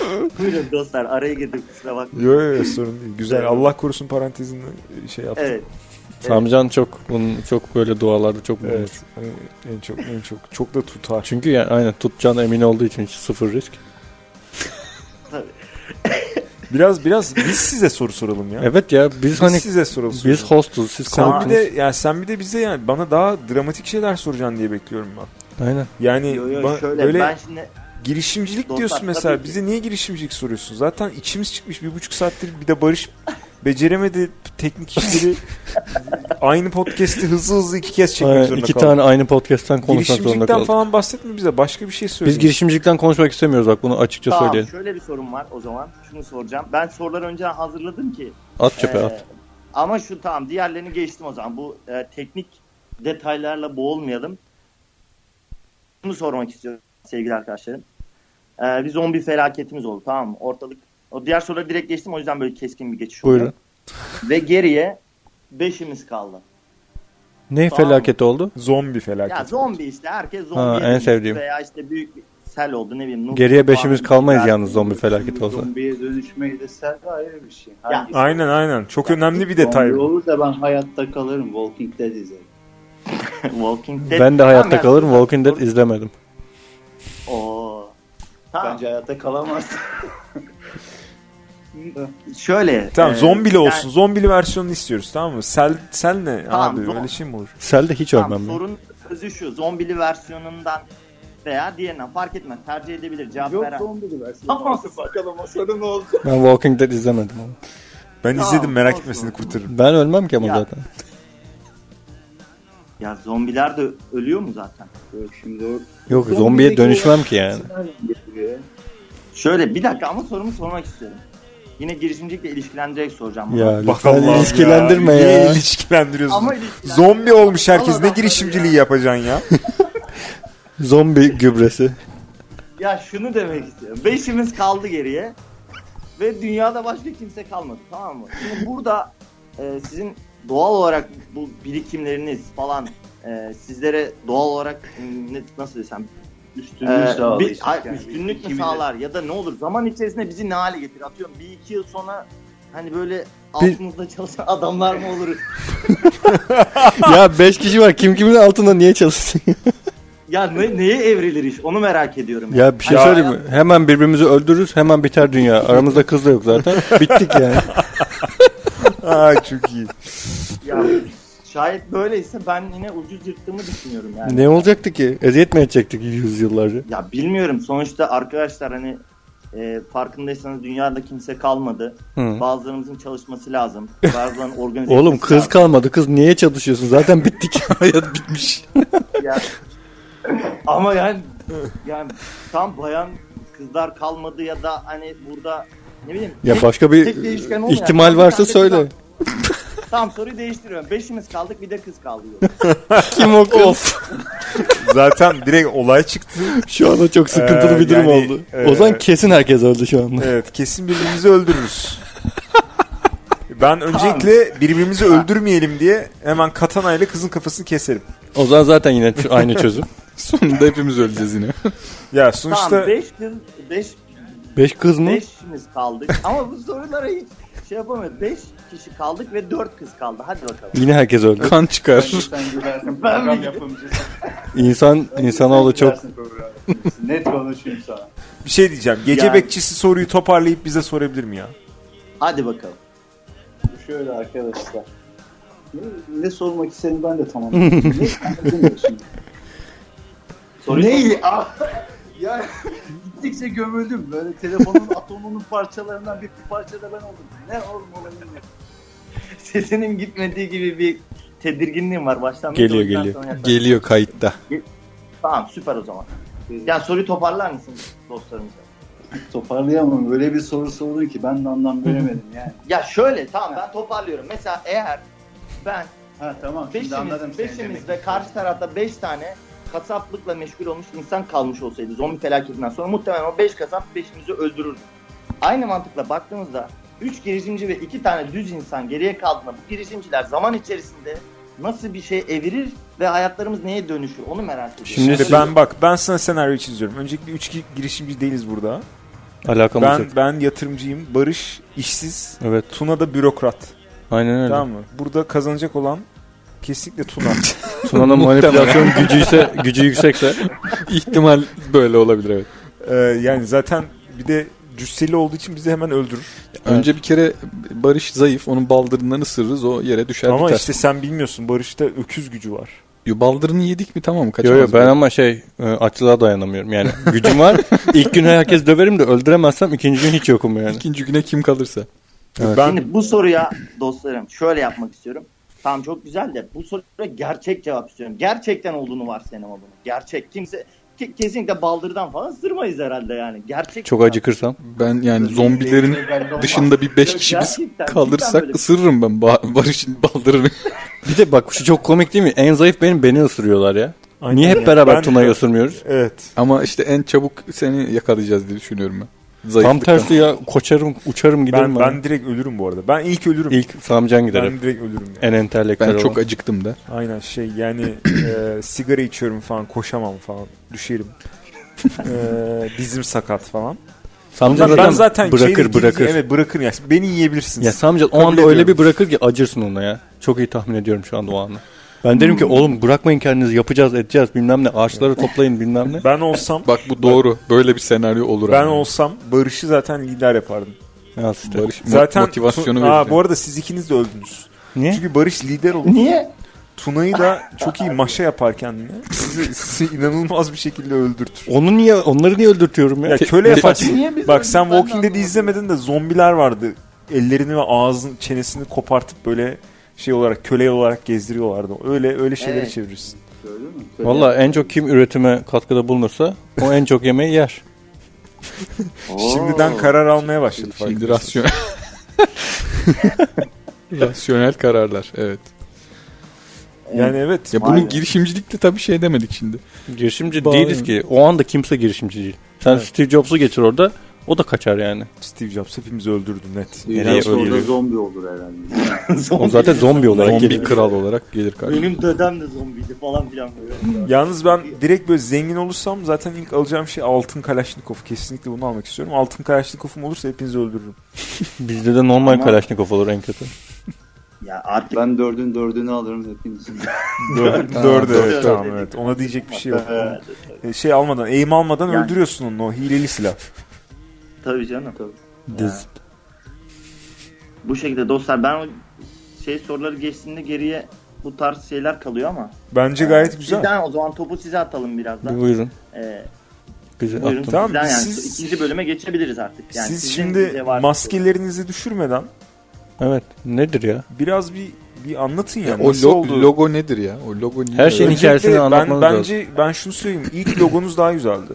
Buyurun dostlar araya girdim kusura bakmayın.
Yok yok sorun değil. Güzel.
Evet.
Allah korusun parantezini şey yaptım.
Evet.
Samcan çok bunun çok böyle dualarda çok bulunur.
Evet. Hani En çok en çok çok da tutar.
Çünkü yani aynen tutacağına emin olduğu için hiç sıfır risk.
Biraz biraz biz size soru soralım ya.
Evet ya biz
Biz
hani
size soru soralım.
biz hostuz siz
sen bir
konuksunuz.
de yani sen bir de bize yani bana daha dramatik şeyler soracaksın diye bekliyorum ben.
Aynen.
Yani
Yo, yo,
ba-
şöyle
böyle
ben şimdi
girişimcilik
Dostlar,
diyorsun mesela.
tabii ki.
Bize niye girişimcilik soruyorsun? Zaten içimiz çıkmış bir buçuk saattir bir de Barış beceremedi teknik işleri. aynı podcast'i hızlı hızlı iki kez çekmek
Aynen.
zorunda
İki
kaldı.
tane aynı podcast'ten konuşmak zorunda
Girişimcilikten
kaldık.
falan bahsetme bize. Başka bir şey söyle.
Biz girişimcilikten konuşmak istemiyoruz bak bunu açıkça
tamam,
söyleyelim.
şöyle bir sorum var o zaman. Şunu soracağım. Ben soruları önceden hazırladım ki
At çöpe
Ee,
at.
Ama şu tamam diğerlerini geçtim o zaman. Bu e, teknik detaylarla boğulmayalım. Bunu sormak istiyorum sevgili arkadaşlarım. Ee, bir zombi felaketimiz oldu tamam mı? Ortalık o diğer soruları direkt geçtim o yüzden böyle keskin bir geçiş oldu.
Buyurun.
Ve geriye beşimiz kaldı.
Ne
Tamam.
felaketi oldu?
Zombi
Ya
felaket.
zombi işte herkes zombi.
Ha, en sevdiğim.
Veya işte büyük bir sel oldu ne bileyim. Nuh
Geriye
tufanı,
beşimiz kalmayız
rüzgar.
yalnız zombi felaketi olsa.
Zombiye dönüşmeyi de serdi ayrı bir şey. Hangisi?
Aynen aynen. Çok önemli bir detay.
Zombi
bu.
olur da ben hayatta kalırım. Walking Dead izlerim.
Walking Dead.
Ben de hayatta
Tamam, yani-
kalırım. Walking Dead izlemedim.
Oo. Tamam.
Bence hayatta kalamazsın.
Şöyle.
Tamam
e,
zombili
yani-
olsun. Zombili versiyonunu istiyoruz tamam mı? Sel sel ne
Tamam,
abi?
zom-
Öyle şey mi olur?
Sel de hiç
Tamam,
ölmem. ben.
sorun özü şu. Zombili versiyonundan veya diğerinden fark etmez. Tercih edebilir. Cevap
Yok
veren.
zombili versin.
Tamam.
Bakalım o sonu ne olacak?
Ben Walking Dead izlemedim. ama.
Ben
Tamam,
izledim merak
olsun.
etmesini kurtarırım.
Ben ölmem ki ama
Ya.
zaten.
Ya zombiler de ölüyor mu zaten?
Yok şimdi o
Yok
Zombideki
zombiye
o-
dönüşmem ki yani.
Nereden geliyor?
Şöyle bir dakika ama sorumu sormak istiyorum. Yine girişimcilikle ilişkilendirerek soracağım. bunu.
Ya lütfen
Bakalım
ilişkilendirme ya.
Niye ilişkilendiriyorsun?
Ama ilişkilendirme.
Zombi olmuş herkes.
Allah
Ne
Allah
girişimciliği
ya.
yapacaksın ya?
Zombi gübresi.
Ya şunu demek istiyorum. Beşimiz kaldı geriye. Ve dünyada başka kimse kalmadı tamam mı? Şimdi burada e, sizin doğal olarak bu birikimleriniz falan e, sizlere doğal olarak m, ne- nasıl desem
Üstünlüğü
Ee,
sağlayacak.
bir- ay-
yani.
üstünlük mü
Kimi de-
sağlar ya da ne olur zaman içerisinde bizi ne hale getirir atıyorum bir iki yıl sonra hani böyle
Bir-
altımızda çalışan adamlar mı oluruz?
ya 5 kişi var. Kim kimin altında niye çalışsın?
Ya ne, neye evrilir iş onu merak ediyorum. yani.
ya bir şey
Hani
söyleyeyim mi? Hemen birbirimizi öldürürüz. Hemen biter dünya. Aramızda kız da yok zaten. Bittik yani.
Aa çok iyi.
Ya, şayet böyleyse ben yine ucuz yırttığımı düşünüyorum yani.
ne olacaktı ki? Eziyet mi edecektik yüzyıllarca?
Ya bilmiyorum sonuçta arkadaşlar hani e, farkındaysanız dünyada kimse kalmadı.
Hı.
Bazılarımızın çalışması lazım. Bazılarının organize
Oğlum
etmesi
kız
lazım.
kalmadı. Kız niye çalışıyorsun? Zaten bittik.
Hayat bitmiş.
Ya- Ama yani yani tam bayan kızlar kalmadı ya da hani burada ne bileyim.
ya
tek-
başka bir
tek değişken olmayan-
ihtimal varsa söyle.
Tamam soruyu değiştiriyorum. Beşimiz kaldık bir de kız kaldı. yok.
Kim o kız?
Zaten direkt olay çıktı.
Şu anda çok sıkıntılı
Ee,
bir durum
yani,
oldu.
e,
Ozan kesin herkes öldü şu anda.
Evet kesin birbirimizi öldürürüz. Ben öncelikle birbirimizi öldürmeyelim diye hemen katana ile kızın kafasını keserim.
O zaman zaten yine ç- aynı çözüm.
Sonunda hepimiz öleceğiz yine.
Ya sonuçta
Tamam 5 gün 5
Beş kız mı?
Beşimiz kaldık ama bu sorulara hiç şey yapamıyoruz. Beş kişi kaldık ve dört kız kaldı. Hadi bakalım.
Yine herkes öldü.
Kan çıkar.
Bence sen gülersin
Ben
program
mi?
yapımcısı.
İnsan,
Bence
insanoğlu
sen
çok
gülersin program yapımcısı. Net konuşayım sana.
bir şey diyeceğim. Gece
Yani-
bekçisi soruyu toparlayıp bize sorabilir mi ya?
Hadi bakalım.
Şöyle arkadaşlar. Ne, ne sormak istediğini ben de tamamladım. ne anlatıyorsun?
Soruyu
Neyi? Ah! ya gittikçe gömüldüm. Böyle telefonun atomunun parçalarından bir parça da ben oldum. Ne oğlum olayım ne?
Sesinin gitmediği gibi bir tedirginliğim var baştan.
Geliyor,
O yüzden
geliyor.
sana yaklaşık.
Geliyor kayıtta.
Tamam süper o zaman. Yani soruyu toparlar mısın dostlarımıza?
Toparlayamam. Böyle bir soru sordun ki ben de anlam veremedim yani.
Ya şöyle tamam ben toparlıyorum. Mesela eğer ben
Ha tamam. Şimdi anladım
beşimiz,
seni demek.
beşimiz ve karşı tarafta beş tane kasaplıkla meşgul olmuş insan kalmış olsaydı zombi felaketinden sonra muhtemelen o beş kasap beşimizi öldürürdü. Aynı mantıkla baktığımızda üç girişimci ve iki tane düz insan geriye kaldığında bu girişimciler zaman içerisinde nasıl bir şey evirir ve hayatlarımız neye dönüşür onu merak ediyorum.
Şimdi
Şimdi
siz-
ben bak ben sana senaryo çiziyorum. Öncelikle üç gi- girişimci değiliz burada.
alakamız yok.
Ben ben yatırımcıyım. Barış işsiz.
Evet.
Tuna da bürokrat.
Aynen öyle.
Tamam mı? Burada kazanacak olan kesinlikle Tuna.
Sunan'ın manipülasyon gücü ise gücü yüksekse
İhtimal böyle olabilir evet.
Ee, yani zaten bir de cüsseli olduğu için bizi hemen öldürür.
Önce bir kere Barış zayıf. Onun baldırından ısırırız. O yere düşer
Ama
biter.
işte sen bilmiyorsun. Barış'ta öküz gücü var.
Yo, Baldırını yedik mi tamam
Yo
kaçamaz.
yo ben
böyle.
ama şey e, açlığa dayanamıyorum yani gücüm var. İlk gün herkes döverim de öldüremezsem ikinci gün hiç yokum yani.
İkinci güne kim kalırsa.
Ben
Şimdi bu soruya dostlarım şöyle yapmak istiyorum. Tamam çok güzel de bu soruya gerçek cevap istiyorum. Gerçekten olduğunu varsayalım bunu. Gerçek. Kimse ke- kesinlikle baldırdan falan sırmayız herhalde yani. Gerçek.
Çok acıkırsam.
Ben yani zombilerin dışında bir beş
Yok,
kişi biz
gerçekten, cidden
kalırsak
böyle.
ısırırım ben Ba- Barış'ın baldırını.
Bir de bak şu çok komik değil mi? En zayıf benim beni ısırıyorlar ya.
Aynen
Niye
ya.
hep beraber
Ben-
Tuna'yı ısırmıyoruz?
Evet.
Ama işte en çabuk seni yakalayacağız diye düşünüyorum ben.
Tam
Zayıflıktan.
tersi ya koçarım uçarım giderim
Ben,
ben.
ben direkt ölürüm bu arada. Ben ilk ölürüm.
İlk Samcan giderim.
Ben direkt ölürüm yani.
En entelektüel
Ben
olan.
çok acıktım da.
Aynen şey yani e, sigara içiyorum falan koşamam falan düşerim. E, dizim sakat falan.
Samcan
ben
zaten
zaten
bırakır
şeyleri-
bırakır.
Evet bırakır yani. Beni yiyebilirsiniz.
Ya Samcan o
Kabul
anda öyle
ediyorum.
bir bırakır ki acırsın ona ya. Çok iyi tahmin ediyorum şu anda o anı. Ben derim ki oğlum bırakmayın kendinizi yapacağız edeceğiz bilmem ne ağaçları toplayın bilmem ne.
Ben olsam
Bak bu doğru. Böyle bir senaryo olur.
ben
ama.
olsam Barış'ı zaten lider yapardım.
Ya işte.
Barış mo-
Zaten
motivasyonu
Tu-
verir.
Aa, bu arada siz ikiniz de öldünüz.
Niye?
Çünkü Barış lider olur.
Niye?
Tuna'yı da çok iyi maşa yapar kendine. Sizi, sizi inanılmaz bir şekilde öldürtür.
Onu niye onları niye öldürtüyorum ya?
Ya köle yapar.
Niye biz
Bak sen
öldük? Ben de
Walking Dead'i
anlamadım.
izlemedin de zombiler vardı. Ellerini ve ağzın çenesini kopartıp böyle şey olarak köle olarak gezdiriyorlardı. Öyle öyle şeyleri
Evet.
çevirirsin.
Öyle mi?
Valla en çok kim üretime katkıda bulunursa o en çok yemeği yer.
Şimdiden karar almaya başladı.
Şimdi
farkındasın.
rasyon- rasyonel kararlar. Evet.
Yani evet.
Ya
Vay
bunun
be.
girişimcilikte tabii şey demedik şimdi.
Girişimci
Bağlı
değiliz
mı?
ki. O anda kimse girişimci değil. Sen Steve Jobs'u geçir orada o da kaçar yani.
Steve Jobs hepimizi öldürdü net.
Dünya sonunda
ölüyor.
zombi olur herhalde.
O zaten zombi olarak
Zombi
gelir.
kral olarak gelir karşıma.
Benim dedem de zombiydi falan filan böyle.
Yalnız ben direkt böyle zengin olursam zaten ilk alacağım şey altın kalaşnikov. Kesinlikle bunu almak istiyorum. Altın kalaşnikovum olursa hepinizi öldürürüm.
Bizde de normal
Ama-
Kalaşnikov olur en kötü.
Ya artık
Ben dördün dördünü alırım hepiniz.
Dördü.
Tamam,
Dördü
dördü.
evet tamam evet. Ona diyecek bir şey yok.
Evet.
Ee, Şey almadan, eğim almadan
Yani.
öldürüyorsun onu. O hileli silah.
tabii canım.
Diz.
Bu şekilde dostlar ben o şey soruları geçtiğinde geriye bu tarz şeyler kalıyor ama.
Bence gayet güzel.
Sizden o zaman topu size atalım
Bir
birazdan.
buyurun.
Ee,
Bize
buyurun
attın.
Tamam,
sizden yani
siz-
ikinci bölüme geçebiliriz artık. Yani
Siz
sizin
şimdi
bize var-
maskelerinizi düşürmeden
Evet. Nedir ya?
biraz bir bir anlatın ya.
O
nasıl
lo-
oldu?
logo nedir ya? O logo niye?
Her şeyin
Öncelikle
hikayesini anlatmanız
ben,
lazım.
bence, Ben şunu söyleyeyim. İlk logonuz daha güzeldi.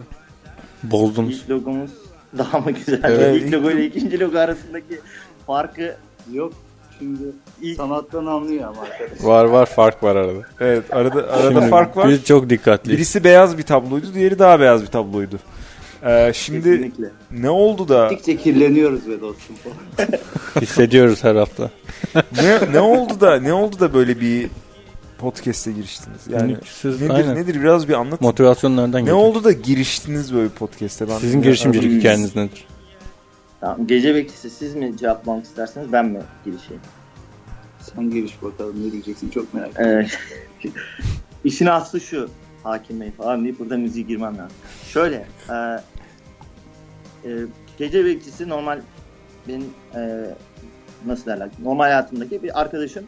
Bozdunuz.
İlk logomuz daha mı güzel?
Evet, ilk
ilk logo ile ikinci logo arasındaki farkı
Yok şimdi
ilk
sanattan anlıyor ama arkadaş.
Var var fark var arada.
Evet arada arada
Şimdi
fark var.
Biz çok dikkatliyiz.
Birisi beyaz bir tabloydu, diğeri daha beyaz bir tabloydu. Ee, şimdi
Kesinlikle.
ne oldu da
Gittikçe kirleniyoruz be dostum.
Hissediyoruz her hafta.
ne ne oldu da ne oldu da böyle bir
Siz,
nedir
aynen.
nedir biraz bir anlat.
Motivasyon nereden
ne
geldi?
oldu da giriştiniz böyle podcast'e? Ben
Sizin
ya-
girişimcilik
Biz-
hikayeniz nedir?
Tamam, gece bekçisi siz mi cevaplamak isterseniz ben mi girişeyim?
Sen giriş bakalım ne diyeceksin çok merak ettim.
Ee, işin aslı şu hakim bey falan deyip burada müziği girmem lazım. Şöyle e, e, gece bekçisi normal benim e, nasıl derler normal hayatımdaki bir arkadaşım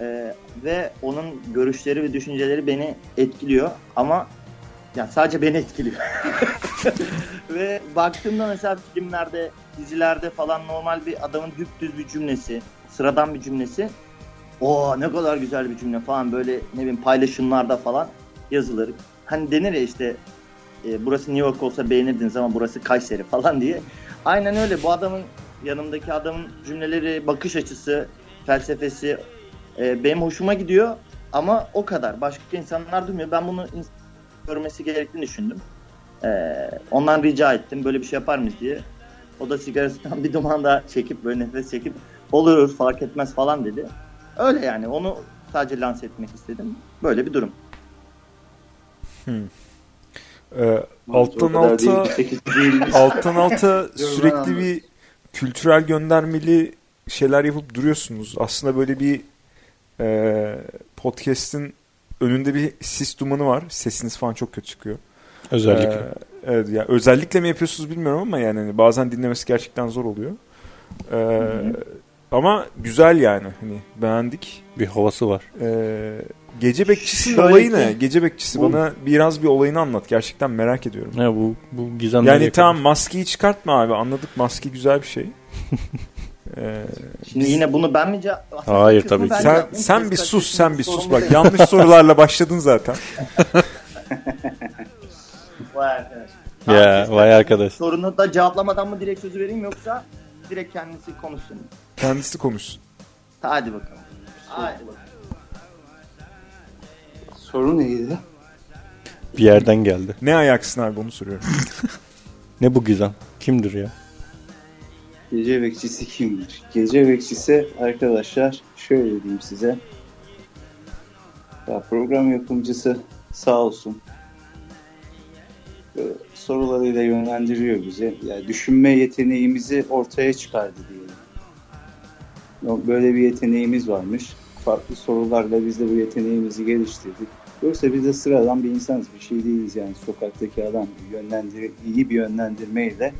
E, ve onun görüşleri ve düşünceleri beni etkiliyor ama yani sadece beni etkiliyor. ve baktığımda mesela filmlerde, dizilerde falan normal bir adamın düptüz bir cümlesi, sıradan bir cümlesi o ne kadar güzel bir cümle falan böyle ne bileyim paylaşımlarda falan yazılır. Hani denir ya işte e, burası New York olsa beğenirdiniz ama burası Kayseri falan diye. Aynen öyle bu adamın yanımdaki adamın cümleleri, bakış açısı, felsefesi e, benim hoşuma gidiyor ama o kadar. Başka insanlar duymuyor. Ben bunu ins- görmesi gerektiğini düşündüm. E, ondan rica ettim böyle bir şey yapar mıyız diye. O da sigarasından bir duman daha çekip böyle nefes çekip olur fark etmez falan dedi. Öyle yani onu sadece lanse etmek istedim. Böyle bir durum.
Ee,
O
alttan
kadar
alta
değil, sekiz değil.
alttan alta
ben
sürekli
anladım.
bir kültürel göndermeli şeyler yapıp duruyorsunuz. Aslında böyle bir e, podcast'in önünde bir sis dumanı var. Sesiniz falan çok kötü çıkıyor.
Özellikle.
Ee, evet, yani özellikle mi yapıyorsunuz bilmiyorum ama yani hani bazen dinlemesi gerçekten zor oluyor. Ee, ama güzel yani hani beğendik.
bir havası var.
Ee, gece bekçisinin
Şöyle
olayı
ki-
ne? Gece bekçisi
Oğlum.
bana biraz bir olayını anlat. Gerçekten merak ediyorum.
Ne bu bu gizemleri
Yani
yakaladı.
tamam maskeyi çıkartma abi anladık maske güzel bir şey. Ee,
Şimdi yine bunu ben mi cevap...
Hayır,
Kısmı
tabii ki.
ben
sen
yaptım.
sen
Kız
bir sus
kardeşim
sen bir
sorumlu
sus bak
değil.
yanlış sorularla başladın zaten.
Vay arkadaş.
Ya vay arkadaş.
Sorunu da cevaplamadan mı direkt sözü vereyim yoksa direkt kendisi konuşsun.
Kendisi konuşsun.
Hadi bakalım. Hadi bakalım.
Soru neydi?
Bir yerden geldi.
Ne ayaksın abi onu soruyorum.
Ne bu gizem? Kimdir ya?
Gece bekçisi kimdir? Gece bekçisi arkadaşlar şöyle diyeyim size. Ya program yapımcısı sağ olsun. Böyle sorularıyla yönlendiriyor bizi. Ya düşünme yeteneğimizi ortaya çıkardı diyelim. Ya Böyle bir yeteneğimiz varmış. Farklı sorularla biz de bu yeteneğimizi geliştirdik. Yoksa biz de sıradan bir insanız. Bir şey değiliz yani sokaktaki adam. Bir yönlendir iyi bir yönlendirmeyle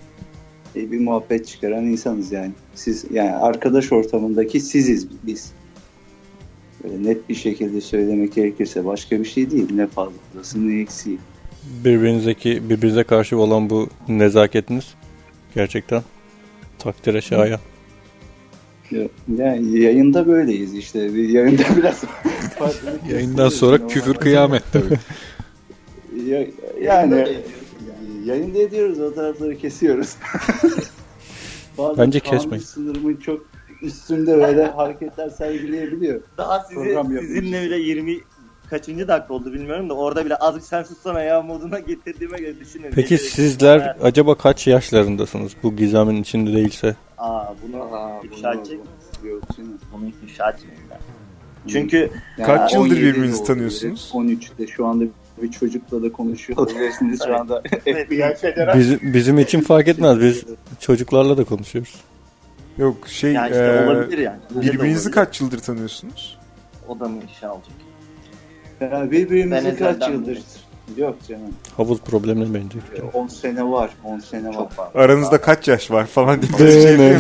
e, bir muhabbet çıkaran insanız yani. Siz yani arkadaş ortamındaki siziz biz. Böyle net bir şekilde söylemek gerekirse başka bir şey değil. Ne fazlası ne eksiği.
Birbirinizdeki birbirinize karşı olan bu nezaketiniz gerçekten takdire şayan.
Ya- Yani yayında böyleyiz işte. Bir Yayında biraz farklılık
Yayından
gösteriyoruz.
sonra
Normal.
küfür kıyamet tabii.
Ya- yani yayında ediyoruz o tarafları kesiyoruz. Bazen
Bence
kanun
kesmeyin.
sınırımın çok üstünde böyle hareketler sergileyebiliyor.
Daha sizi-
Program yapmış.
sizinle bile 20 kaçıncı dakika oldu bilmiyorum da orada bile azıcık sen sussana ya moduna getirdiğime göre düşünün.
Peki
Gece bekçisi-
sizler acaba kaç yaşlarındasınız bu gizemin içinde değilse?
Aa bunu
Aa,
İfşa
bunlar-
edecek
Yok canım.
bunu ifşa etmeyeyim ben. Çünkü
Kaç
Ya,
yıldır
17'de
birbirinizi
oldu.
tanıyorsunuz?
13'te şu anda bir çocukla da konuşuyor olabilirsiniz şu anda.
evet, gerçekten-
Bizim, bizim için fark etmez biz çocuklarla da konuşuyoruz.
Yok şey
yani işte
e,
olabilir yani. Bence de
birbirinizi
olabilir.
kaç yıldır tanıyorsunuz?
O da mı ifşa olacak?
Ya
Ben
birbirimizi
ezelden
kaç yıldır? Yok canım.
Havuz problemine benziyor.
10 sene var. 10 sene var.
Çok fazla.
Aranızda kaç yaş var falan diye. şey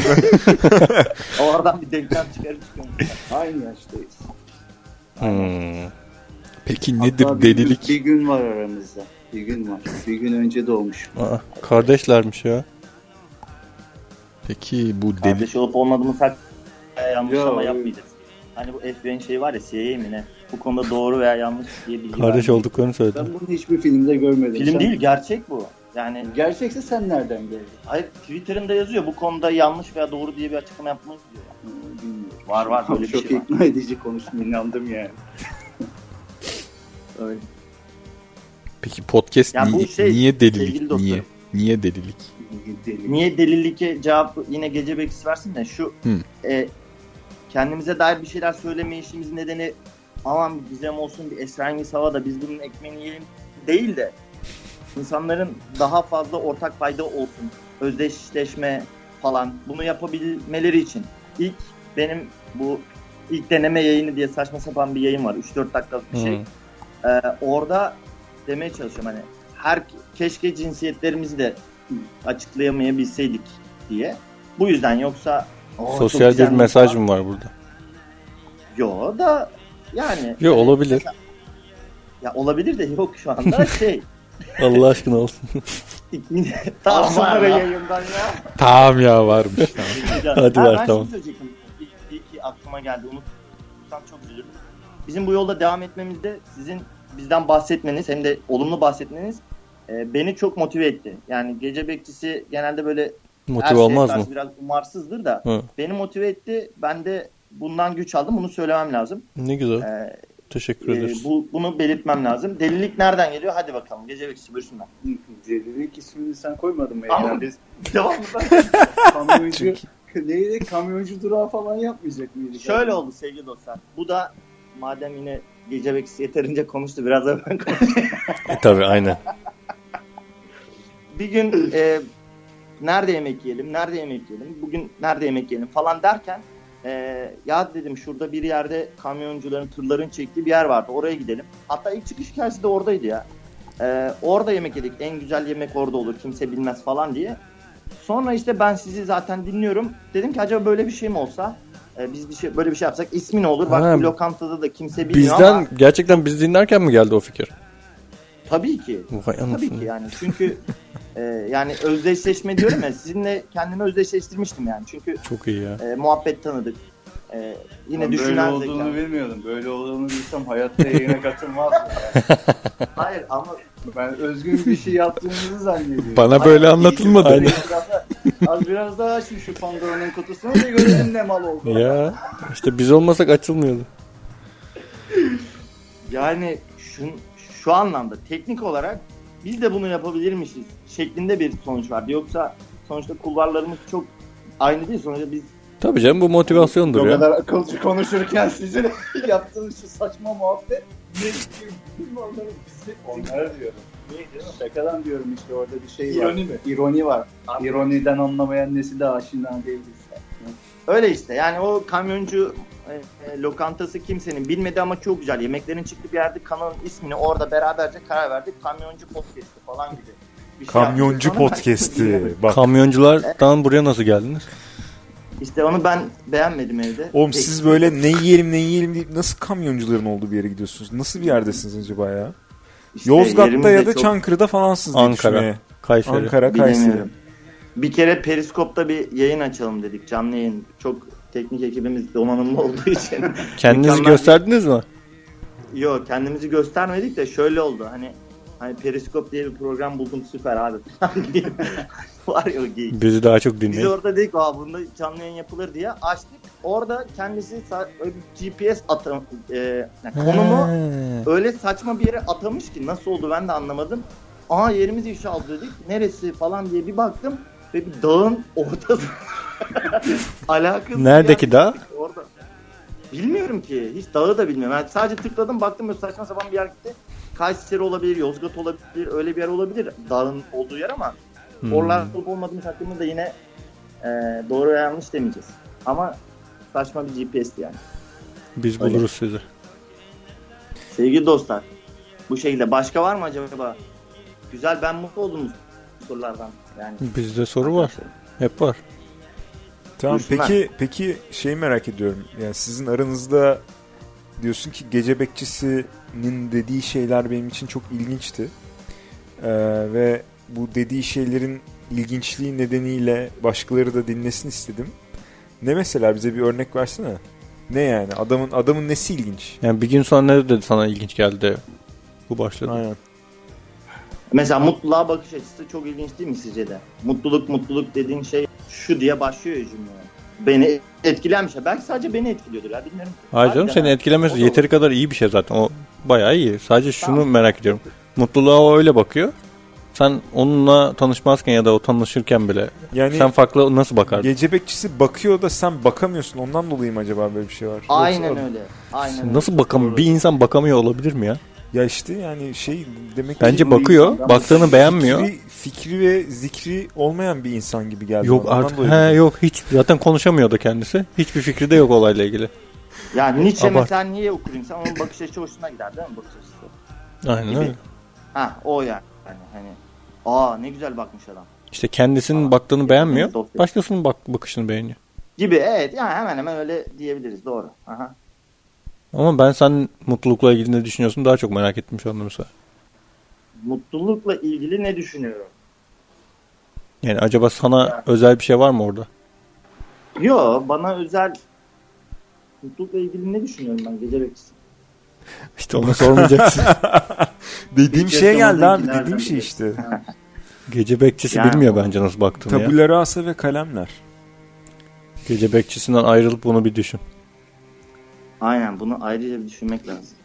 Oradan bir denklem çıkarıp çıkıyorum.
Aynı yaştayız.
Hmm.
Peki
Hatta
nedir
bir gün-
delilik?
Bir gün var aramızda. Bir gün var. Bir gün önce doğmuş.
Aa, kardeşlermiş ya.
Peki bu deli
Kardeş olup olmadığımız hak veya yanlış
Ya,
ama
evet.
yapmayacağız. Hani bu FBI'nin şeyi var ya CIA mi ne? Bu konuda doğru veya yanlış diye bilgi
Kardeş
vermiyor.
olduklarını
Ben
söyledim.
bunu hiçbir filmde görmedim.
Film
Sen-
değil gerçek bu. Yani
Gerçekse sen nereden gördün?
hayır Twitter'ında yazıyor bu konuda yanlış veya doğru diye bir açıklama yapmanız diyor.
Ee, Bilmiyorum.
Var var böyle bir
Çok
şey var.
ikna edici konuştum. inandım yani. Öyle.
Peki podcast
Ya bu
niye,
şey,
niye
sevgili
delilik?
doktor.
Niye? Niye delilik?
Deli.
Niye delillike cevap yine gece bekçisi versin de şu
Hı.
e, kendimize dair bir şeyler söyleme işimizin nedeni aman bir gizem olsun bir esrengiz hava da biz bunun ekmeğini yiyelim değil de insanların daha fazla ortak fayda olsun. Özdeşleşme falan bunu yapabilmeleri için. ilk benim bu ilk deneme yayını diye saçma sapan bir yayın var. 3-4 dakikalık bir şey.
Hı.
Ee, orada demeye çalışıyorum hani her keşke cinsiyetlerimizi de açıklayamayabilseydik diye. Bu yüzden yoksa "Oo, çok
Sosyal bir
güzelmiş"
mesaj
falan.
mı var burada?
Yo da yani
Yo olabilir.
ya olabilir de yok şu anda şey.
Allah aşkına olsun.
ikinci- Tamam sonra yayından ya.
Tamam ya varmış. Tamam.
Hadi
Ha,
ver,
ben
tamam.
şunu söyleyecektim. İyi, iyi ki aklıma geldi. Unuttum. Çok üzüldüm. Bizim bu yolda devam etmemizde sizin bizden bahsetmeniz hem de olumlu bahsetmeniz e, beni çok motive etti. Yani gece bekçisi genelde böyle her
Motive
şeye
olmaz mı?
karşı Biraz umarsızdır da
Hı.
beni motive etti. Ben de bundan güç aldım. Bunu söylemem lazım.
Ne
E,
güzel. Teşekkür
e,
ederiz.
bu, bunu belirtmem lazım. Delilik nereden geliyor? Hadi bakalım. Gece bekçisi buyursunlar.
Celilik ismini sen koymadın mı?
Ama-
Yani biz
Devam mı?
kamyoncu neydi? Kamyoncu durağı falan yapmayacak mıydık?
Şöyle
abi?
oldu sevgili dostlar. Bu da madem yine gece bekçisi yeterince konuştu. Biraz da ben konuşayım.
Tabii aynen.
bir gün e, nerede yemek yiyelim, nerede yemek yiyelim, bugün nerede yemek yiyelim falan derken e, ya dedim şurada bir yerde kamyoncuların, tırların çektiği bir yer vardı. Oraya gidelim. Hatta ilk çıkış hikayesi de oradaydı ya. E, orada yemek yedik. En güzel yemek orada olur. Kimse bilmez falan diye. Sonra işte ben sizi zaten dinliyorum. Dedim ki acaba böyle bir şey mi olsa? E, biz bir şey böyle bir şey yapsak ismi ne olur? Bak
Ha.
bu lokantada da kimse bilmiyor ama
Bizden gerçekten biz dinlerken mi geldi o fikir?
tabii ki. Tabii
Vay
ki
anasını.
yani çünkü e, yani özdeşleşme diyorum ya sizinle kendimi özdeşleştirmiştim yani çünkü
Çok iyi ya.
e, muhabbet tanıdık. E, yine
Ben
düşünen
Böyle olduğunu
zeka.
bilmiyordum. Böyle olduğunu bilsem hayatta yayına katılmazdım. Yani.
Hayır ama
Ben özgün bir şey yaptığımızı zannediyorum.
Bana böyle anlatılmadı.
Biraz daha- Az biraz daha açın şu Pandora'nın kutusunu da görelim ne mal oldu.
Ya işte biz olmasak açılmıyordu.
yani şu, şu anlamda teknik olarak biz de bunu yapabilirmişiz şeklinde bir sonuç vardı. Yoksa sonuçta kulvarlarımız çok aynı değil. Sonuçta biz
Tabii canım bu
O
motivasyondur ya.
kadar akılcı konuşurken sizin yaptığınız şu saçma muhabbet onları Onlara diyorum. Şakadan diyorum işte orada bir şey var.
İroni mi?
İroni var. İroniden anlamayan nesi de aşina değiliz.
Öyle işte yani o kamyoncu e, e, lokantası kimsenin bilmedi ama çok güzel. Yemeklerin çıktığı bir yerde kanalın ismini orada beraberce karar verdik. Kamyoncu podcast'i falan gibi. bir şey
Kamyoncu
yaptık. Sonra ben-
podcast'i. Bak.
Kamyonculardan buraya nasıl geldiniz?
İşte onu ben beğenmedim evde. Şey,
Oğlum
Peki.
siz böyle ne yiyelim ne yiyelim deyip nasıl kamyoncuların olduğu bir yere gidiyorsunuz? Nasıl bir yerdesiniz acaba ya?
İşte
Yozgat'ta
yerimiz
ya
de
da
çok-
Çankırı'da falansız diye
Ankara.
düşünmeye.
Kayseri.
Ankara, Kayseri.
Bilemiyorum. Bir kere Periskop'ta bir yayın açalım dedik. Canlı yayın. Çok teknik ekibimiz donanımlı olduğu için.
Kendinizi
Mükemmel.
gösterdiniz mi?
Yok kendimizi göstermedik de şöyle oldu. Hani hani Periskop diye bir program buldum süper abi. Var ya o geyik.
Bizi daha çok
Biz
dinleyin.
orada dedik aa bunda canlı yayın yapılır diye açtık. Orada kendisi sa- öyle bir GPS atam e, yani konumu
He.
öyle saçma bir yere atamış ki nasıl oldu ben de anlamadım. Aa yerimiz ifşa oldu dedik. Neresi falan diye bir baktım ve bir dağın ortası. Alakasız. bir
Neredeki
yer-
dağ?
Orada. Bilmiyorum ki. Hiç dağı da bilmiyorum. Yani sadece tıkladım baktım böyle saçma sapan bir yer gitti. Kayseri olabilir, Yozgat olabilir, öyle bir yer olabilir. Dağın olduğu yer ama
Hmm.
Oralar olup olmadığımız hakkında da yine e, doğru veya yanlış demeyeceğiz. Ama saçma bir GPS'ti yani.
Biz
Öyle.
buluruz sizi.
Sevgili dostlar, bu şekilde başka var mı acaba? Güzel ben mutlu oldum bu sorulardan. Yani
Bizde soru var. Hep var.
Tamam
Buyursunlar.
peki peki şey merak ediyorum. Yani sizin aranızda diyorsun ki gece bekçisinin dediği şeyler benim için çok ilginçti. Ee, ve bu dediği şeylerin ilginçliği nedeniyle başkaları da dinlesin istedim. Ne mesela bize bir örnek versene. Ne yani adamın adamın nesi ilginç?
Yani bir gün sonra ne dedi sana ilginç geldi? Bu başladı.
Aynen.
Mesela mutluluğa bakış açısı çok ilginç değil mi sizce de? Mutluluk mutluluk dediğin şey şu diye başlıyor ya cümle. Beni etkilenmiş. Belki sadece beni etkiliyordur ya bilmiyorum. ki.
Hayır canım
Harbiden
seni
ha.
etkilemesi
O da olur.
yeteri kadar iyi bir şey zaten. O bayağı iyi. Sadece şunu
Tamam.
merak ediyorum. Mutluluğa o öyle bakıyor. Sen onunla tanışmazken ya da o tanışırken bile
Yani
sen farklı nasıl bakardın?
gece bekçisi bakıyor da sen bakamıyorsun. Ondan dolayı mı acaba böyle bir şey var?
Aynen
Yoksa-
öyle. Aynen öyle.
Nasıl bakam? Bir insan bakamıyor olabilir mi ya?
Ya işte yani şey demek ki
Bence
Bu
bakıyor,
insandan-
baktığını beğenmiyor.
fikri, fikri ve zikri olmayan bir insan gibi geldi.
Yok
bana. şey- Ondan
artık.
dolayı
He yok hiç zaten konuşamıyordu kendisi. Hiçbir fikri de yok olayla ilgili.
Ya Nietzsche
Abart.
mesela niye okur insan? Onun bakış açısı hoşuna gider değil mi bakış açısı?
Aynen öyle.
Ha o yani. yani hani aa ne güzel bakmış adam.
İşte kendisinin
Aa,
baktığını beğenmiyor.
dosya.
Başkasının bak bakışını beğeniyor.
Gibi evet yani hemen hemen öyle diyebiliriz doğru. Aha.
Ama ben sen mutlulukla ilgili ne düşünüyorsun daha çok merak ettim şu anda mesela.
Mutlulukla ilgili ne düşünüyorum?
Yani acaba sana özel bir şey var mı orada?
Yo bana özel mutlulukla ilgili ne düşünüyorum ben gece bekçisi?
İşte onu sormayacaksın.
Dediğim
şey
Hiç
şeye geldi
yaşamadığın
abi.
günlerden
Dediğim şey
biri.
işte.
Gece bekçisi
Yani-
bilmiyor bence nasıl baktığını ya.
Tabula rasa ve kalemler.
Gece bekçisinden ayrılıp bunu bir düşün.
Aynen bunu ayrıca bir düşünmek lazım.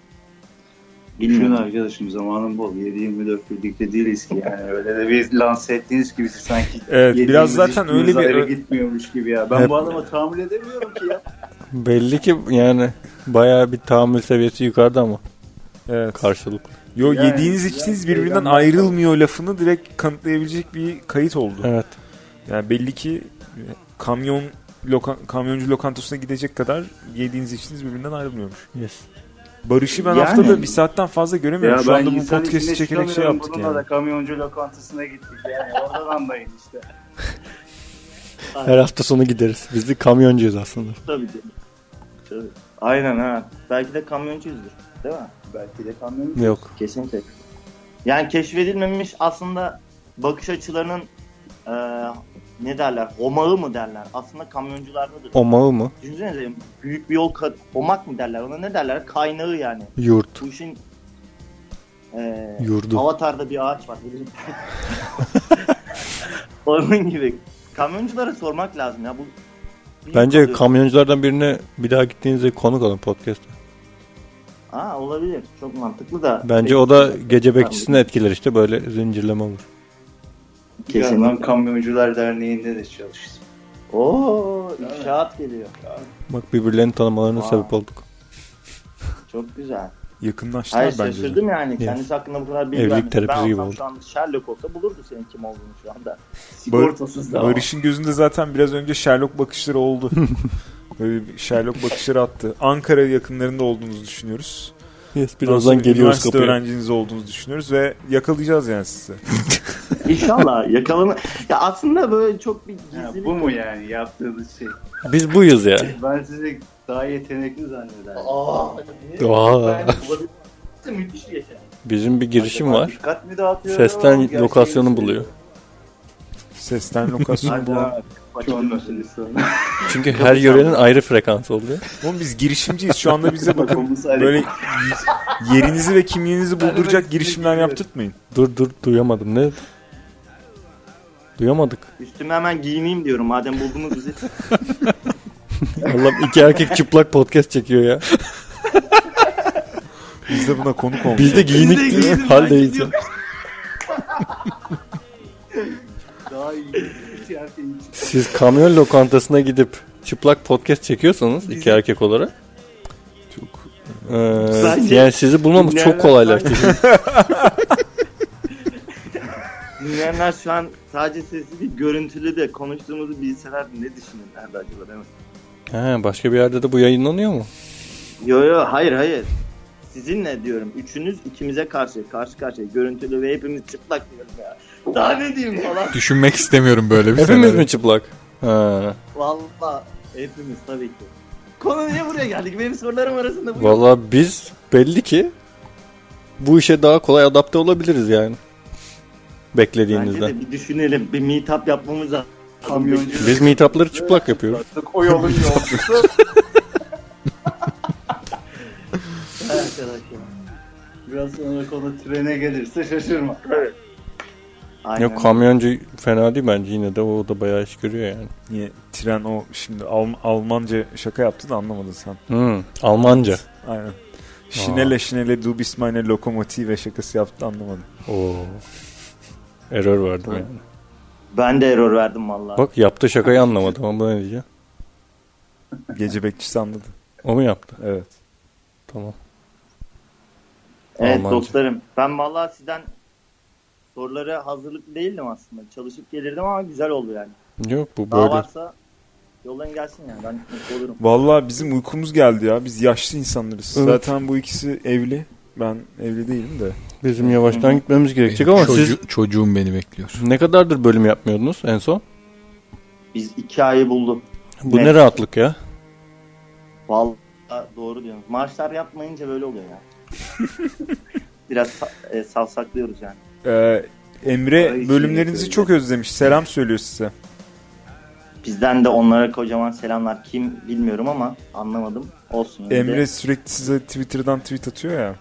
Düşün
Bilmiyorum.
arkadaşım zamanın bol. 7-24 birlikte değiliz ki yani. Öyle de bir lanse ettiğiniz gibi sanki.
Evet, biraz
yediğimiz,
zaten
içtiğimiz
öyle bir-
ayrı gitmiyormuş gibi ya. Ben
Hep-
bu adama tahammül edemiyorum ki ya.
Belli ki yani bayağı bir tahammül seviyesi yukarıda ama
Evet.
karşılıklı.
Yo
Yani-
yediğiniz içtiğiniz
Yani-
birbirinden ayrılmıyor lafını direkt kanıtlayabilecek bir kayıt oldu.
Evet.
Yani belli ki e, kamyon loka- kamyoncu lokantasına gidecek kadar yediğiniz içtiğiniz birbirinden ayrılmıyormuş.
Yes.
Barış'ı ben
Yani-
haftada bir saatten fazla göremiyorum. Şu anda bu
insan
podcast'i
içine
çekerek şey
çıkamıyorum.
yaptık
Bununla
yani.
da kamyoncu lokantasına gittik yani. Oradan anlayın işte.
Her hafta sonu gideriz. Biz de kamyoncuyuz aslında.
Tabii ki. Tabii. Aynen ha. Belki de kamyoncuyuzdur. Değil mi?
Belki de kamyoncu.
Yok.
Kesinlikle. Yani keşfedilmemiş aslında bakış açılarının eee, ne derler? Omağı mı derler? Aslında kamyonculardadır.
O mağı mı?
Düşünsenize büyük bir yol kat, omak mı derler? Ona ne derler? Kaynağı yani.
Yurt.
Bu işin eee
Yurdu.
Avatar'da bir ağaç var. bilirim. Onun gibi. Kamyonculara sormak lazım ya. Bu
Bence
Kalıyor.
kamyonculardan birine bir daha gittiğinizde konuk alın podcast'a.
Aa, olabilir. Çok mantıklı da.
Bence o da gece bekçisini etkiler işte böyle zincirleme olur.
Kesin.
Kesinlikle.
Kamyoncular Derneği'nde de çalıştım.
Oo, inşaat geliyor.
Bak birbirlerini tanımalarına
Aa.
sebep olduk.
Çok güzel.
Yakınlaştılar
Hayır
bence. de.
şaşırdım yani.
Yes.
Kendisi hakkında bu kadar bilgi
Evlilik
vermedi.
terapisi
ben
gibi
olsam
oldu.
şu an Sherlock olsa bulurdu senin kim olduğunu şu anda.
Sigortasız da.
Barış'ın gözünde zaten biraz önce Sherlock bakışları oldu. Böyle bir Sherlock bakışları attı. Ankara yakınlarında olduğunuzu düşünüyoruz.
Yes,
Ondan sonra
birazdan geliyoruz
üniversite
kapıya.
öğrenciniz olduğunuzu düşünüyoruz ve yakalayacağız yani sizi.
İnşallah yakalanır. Ya aslında böyle çok bir
Ha,
gizlilik.
bu mu yani yaptığınız şey?
Biz buyuz ya.
Ben sizi daha yetenekli zannederdim.
Aa,
Aa.
Ben bulabilirim. Müthiş bir yetenek.
Bizim bir girişim var.
Dikkat mi dağıtıyor?
Sesten
Gerçeği
lokasyonu
söylüyor.
buluyor.
Sesten lokasyon
Hadi
bulan.
abi. Şu an nasıl sonra?
Çünkü her yörenin ayrı frekansı oluyor.
Oğlum biz girişimciyiz. Şu anda bize bakın
Kafamız ayrı.
böyle yerinizi ve kimliğinizi bulduracak girişimler yaptırtmayın.
Dur dur duyamadım ne? Duyamadık.
Üstüme hemen giyineyim diyorum madem buldunuz bizi.
Allah'ım iki erkek çıplak podcast çekiyor ya.
Biz de buna konuk olmuş.
Biz de giyinik
Biz de giyinik
haldeyiz ya.
Daha iyi. Hiç erkeğin hiç-
Siz kamyon lokantasına gidip çıplak podcast çekiyorsanız iki erkek olarak çok e,
Bence-
yani sizi bulmamız çok
Dinleyenler-
kolaylaştı.
Dinleyenler şu an sadece sesli değil görüntülü de konuştuğumuzu bilseler ne düşünürlerdi acaba değil mi?
He, başka bir yerde de bu yayınlanıyor mu?
Yo yo hayır hayır. Sizinle diyorum. Üçünüz ikimize karşı karşı karşıya görüntülü ve hepimiz çıplak diyorum ya. Daha ne diyeyim falan.
Düşünmek istemiyorum böyle bir
Hepimiz
senaryo.
mi çıplak? Ha.
Valla hepimiz tabii ki. Konu niye buraya geldik? Benim sorularım arasında bu.
Valla biz belli ki bu işe daha kolay adapte olabiliriz yani.
Bence
Beklediğimizden.
de bir düşünelim. Bir meetup yapmamız lazım.
Kamyoncu.
Biz meetupları çıplak yapıyoruz.
O yolun yolcusu.
Arkadaşlar.
Biraz sonra konu trene gelirse şaşırma.
Aynen.
Yok kamyoncu fena değil bence yine de o da bayağı iş görüyor yani.
Niye tren o şimdi Alm- Almanca şaka yaptı da anlamadın sen.
Hmm, Almanca.
Aynen. Şinele şinele du bist meine Lokomotive şakası yaptı anlamadım.
Oo. Error verdim yani.
Ben de error verdim valla.
Bak yaptığı şakayı anlamadım ama ne diyeceğim.
Gece bekçisi anladı.
O mu yaptı?
Evet.
Tamam.
evet
Almanca.
dostlarım. Ben valla sizden sorulara hazırlıklı değildim aslında. Çalışıp gelirdim ama güzel oldu yani.
Yok bu
Daha
böyle.
varsa yollayın gelsin yani. Ben mutlu olurum.
Vallahi bizim uykumuz geldi ya. Biz yaşlı insanlarız.
Evet.
Zaten bu ikisi evli. Ben evli değilim de.
Bizim yavaştan gitmemiz gerekecek ama
Çocuğu-
siz
Çocuğum beni bekliyor.
ne kadardır bölüm yapmıyordunuz en son?
Biz iki ayı bulduk.
Bu
Ne?
ne rahatlık ya?
Valla doğru diyorsun. Maaşlar yapmayınca böyle oluyor ya. Biraz sa- e, savsaklıyoruz yani.
Ee, Emre
Ay,
bölümlerinizi
şey
çok özlemiş. Selam söylüyor size.
Bizden de onlara kocaman selamlar. Kim bilmiyorum ama anlamadım. Olsun. yine de.
Emre sürekli size Twitter'dan tweet atıyor ya.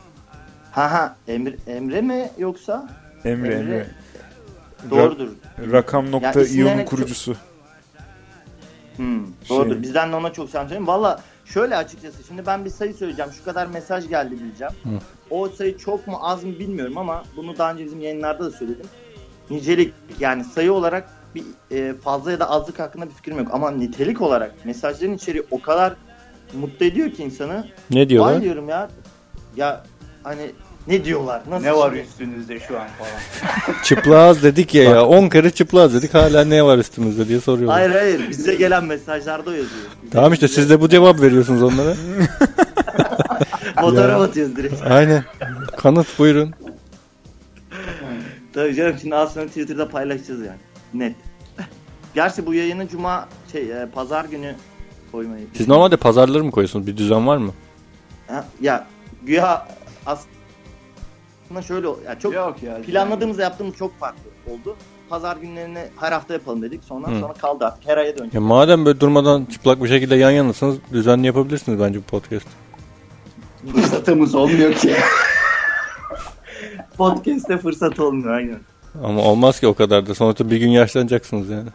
Ha ha. Emre, Emre mi yoksa?
Emre
Emre.
Emre.
Doğrudur.
Rakam.io'nun
isimlerine-
kurucusu.
Hmm, doğrudur.
Şey-
Bizden de ona çok selam söyleyeyim. Valla şöyle açıkçası. Şimdi ben bir sayı söyleyeceğim. Şu kadar mesaj geldi diyeceğim.
Hı.
O sayı çok mu az mı bilmiyorum ama bunu daha önce bizim yayınlarda da söyledim. Nicelik yani sayı olarak bir e, fazla ya da azlık hakkında bir fikrim yok. Ama nitelik olarak mesajların içeriği o kadar mutlu ediyor ki insanı.
Ne
Vay
diyorlar?
diyorum ya. Ya hani ne diyorlar? Nasıl
Ne var
şimdi?
üstünüzde şu an falan.
çıplaz dedik ya ya. 10 kere çıplaz dedik hala ne var üstümüzde diye soruyorlar.
Hayır hayır bize gelen mesajlarda o yazıyor. Bize-
Tamam işte siz de bu cevap veriyorsunuz onlara.
Fotoğraf atıyoruz direkt.
Aynen. Kanıt buyurun.
Tabii canım şimdi az sonra Twitter'da paylaşacağız yani. Net. Gerçi bu yayını cuma şey e, pazar günü koymayı.
Siz normalde pazarları mı koyuyorsunuz? Bir düzen var mı?
Ha, ya güya aslında şöyle o- ya çok
Yok ya.
planladığımızda yaptığımız çok farklı oldu. Pazar günlerini her hafta yapalım dedik. Sonra
Hı.
sonra kaldı artık her aya dönecek.
Ya madem böyle durmadan çıplak bir şekilde yan yanasınız düzenli yapabilirsiniz bence bu podcast.
Fırsatımız olmuyor ki.
Podcast'te fırsat olmuyor aynen.
Ama olmaz ki o kadar da. Sonuçta bir gün yaşlanacaksınız yani.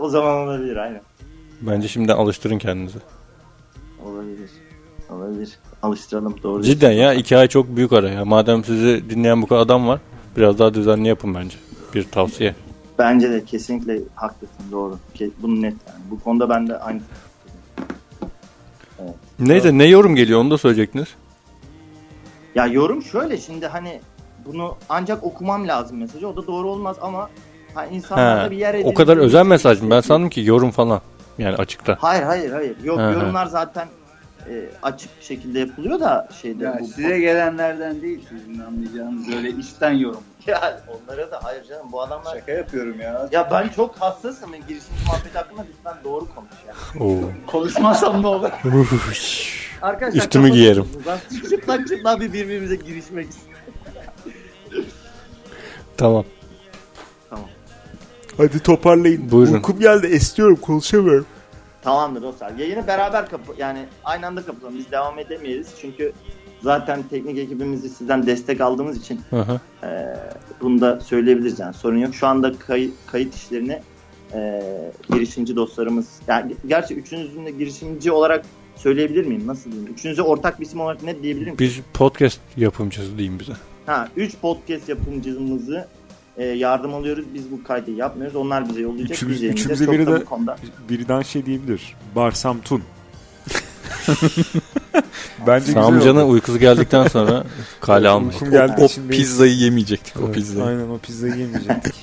O zaman olabilir aynen.
Bence şimdiden alıştırın kendinizi.
Olabilir. Olabilir. Alıştıralım doğru.
Cidden ya iki ay çok büyük ara ya. Madem sizi dinleyen bu kadar adam var biraz daha düzenli yapın bence. Bir tavsiye.
Bence de kesinlikle haklısın doğru. Ke- Bunu net yani. Bu konuda ben de aynı
Neyse ne yorum geliyor onu da söyleyecektiniz.
Ya yorum şöyle şimdi hani bunu ancak okumam lazım mesajı. O da doğru olmaz ama hani insanlarda
Ha,
bir yer
o
edinmek-
kadar özel mesaj mı? Ben sandım ki yorum falan. Yani açıkta.
Hayır hayır hayır. Yok
Ha, ha.
yorumlar zaten e, açık bir şekilde yapılıyor da şeyde
Ya
bu-
size gelenlerden değil sizin anlayacağınız öyle işten yorum.
Ya onlara da hayır canım bu adamlar
Şaka yapıyorum ya.
ya ben çok hassasım. Yani girişimci muhabbeti hakkında lütfen doğru konuş ya.
Oo.
Konuşmasam ne olur?
Arkadaşlar
Üstümü
kapatın
giyerim.
şunu. Ben çıplak çıplak bir birbirimize girişmek istiyorum.
tamam.
Hadi toparlayın.
Buyurun.
Uykum geldi. Esniyorum. Konuşamıyorum.
Tamamdır dostlar. Yayını beraber kapı yani aynı anda kapatalım. Biz devam edemeyiz çünkü zaten teknik ekibimizi sizden destek aldığımız için
Hı hı.
Ee, bunu da söyleyebiliriz yani sorun yok. Şu anda kay- kayıt işlerini e, girişimci dostlarımız, yani ge- gerçi üçünüzün de girişimci olarak söyleyebilir miyim? Nasıl diyeyim? Üçünüze ortak bir isim olarak ne diyebilirim? ki?
Biz podcast yapımcısı diyeyim bize.
Ha, üç podcast yapımcımızı e, yardım alıyoruz. Biz bu kaydı yapmıyoruz. Onlar bize yollayacak.
Üçümüz-
Biz yayınlayacağız.
üçümüze
Çok
biri
da bu
de-
konuda-
Birden şey diyebilir. Bar Samtun. Bence güzel
Samcan'a
oldu.
uykusu geldikten sonra kale almış.
Uykum
O
geldiği için benim-
pizzayı yemeyecektik o
Evet,
pizzayı.
Aynen o pizzayı yemeyecektik.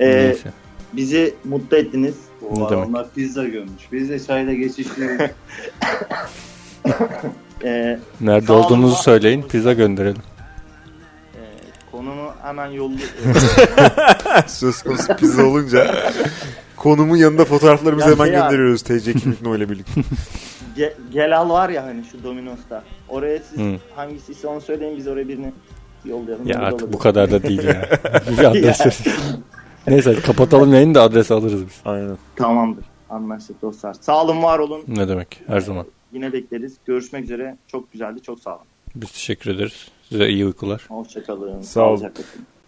Ee,
Neyse.
bizi mutlu ettiniz.
Ne demek?
Onlar pizza gömmüş. Biz de çayla geçiştiriyoruz.
Ee,
Nerede
sağ olun,
olduğunuzu
var-
söyleyin pizza gönderelim.
e, konumu hemen yollu.
Söz konusu pizza olunca konumun yanında fotoğraflarımızı
Ya
hemen
şey abi.
gönderiyoruz TC kimlik ile birlikte.
Ge- Gelal var ya hani şu Domino's'ta. Oraya siz
Hı.
hangisi ise onu söyleyin biz oraya birini yollayalım.
Ya
Öyle
artık
olur.
bu kadar da değil ya. Bir adres ver. Neyse kapatalım yayını da adresi alırız biz.
Aynen.
Tamamdır. Anlaştık dostlar. Sağ olun, var olun.
Ne demek her zaman.
Yine bekleriz. Görüşmek üzere. Çok güzeldi. Çok sağ olun.
Biz teşekkür ederiz. Size iyi uykular.
Hoşçakalın.
Sağ olun.
Sağlıcakla kalın.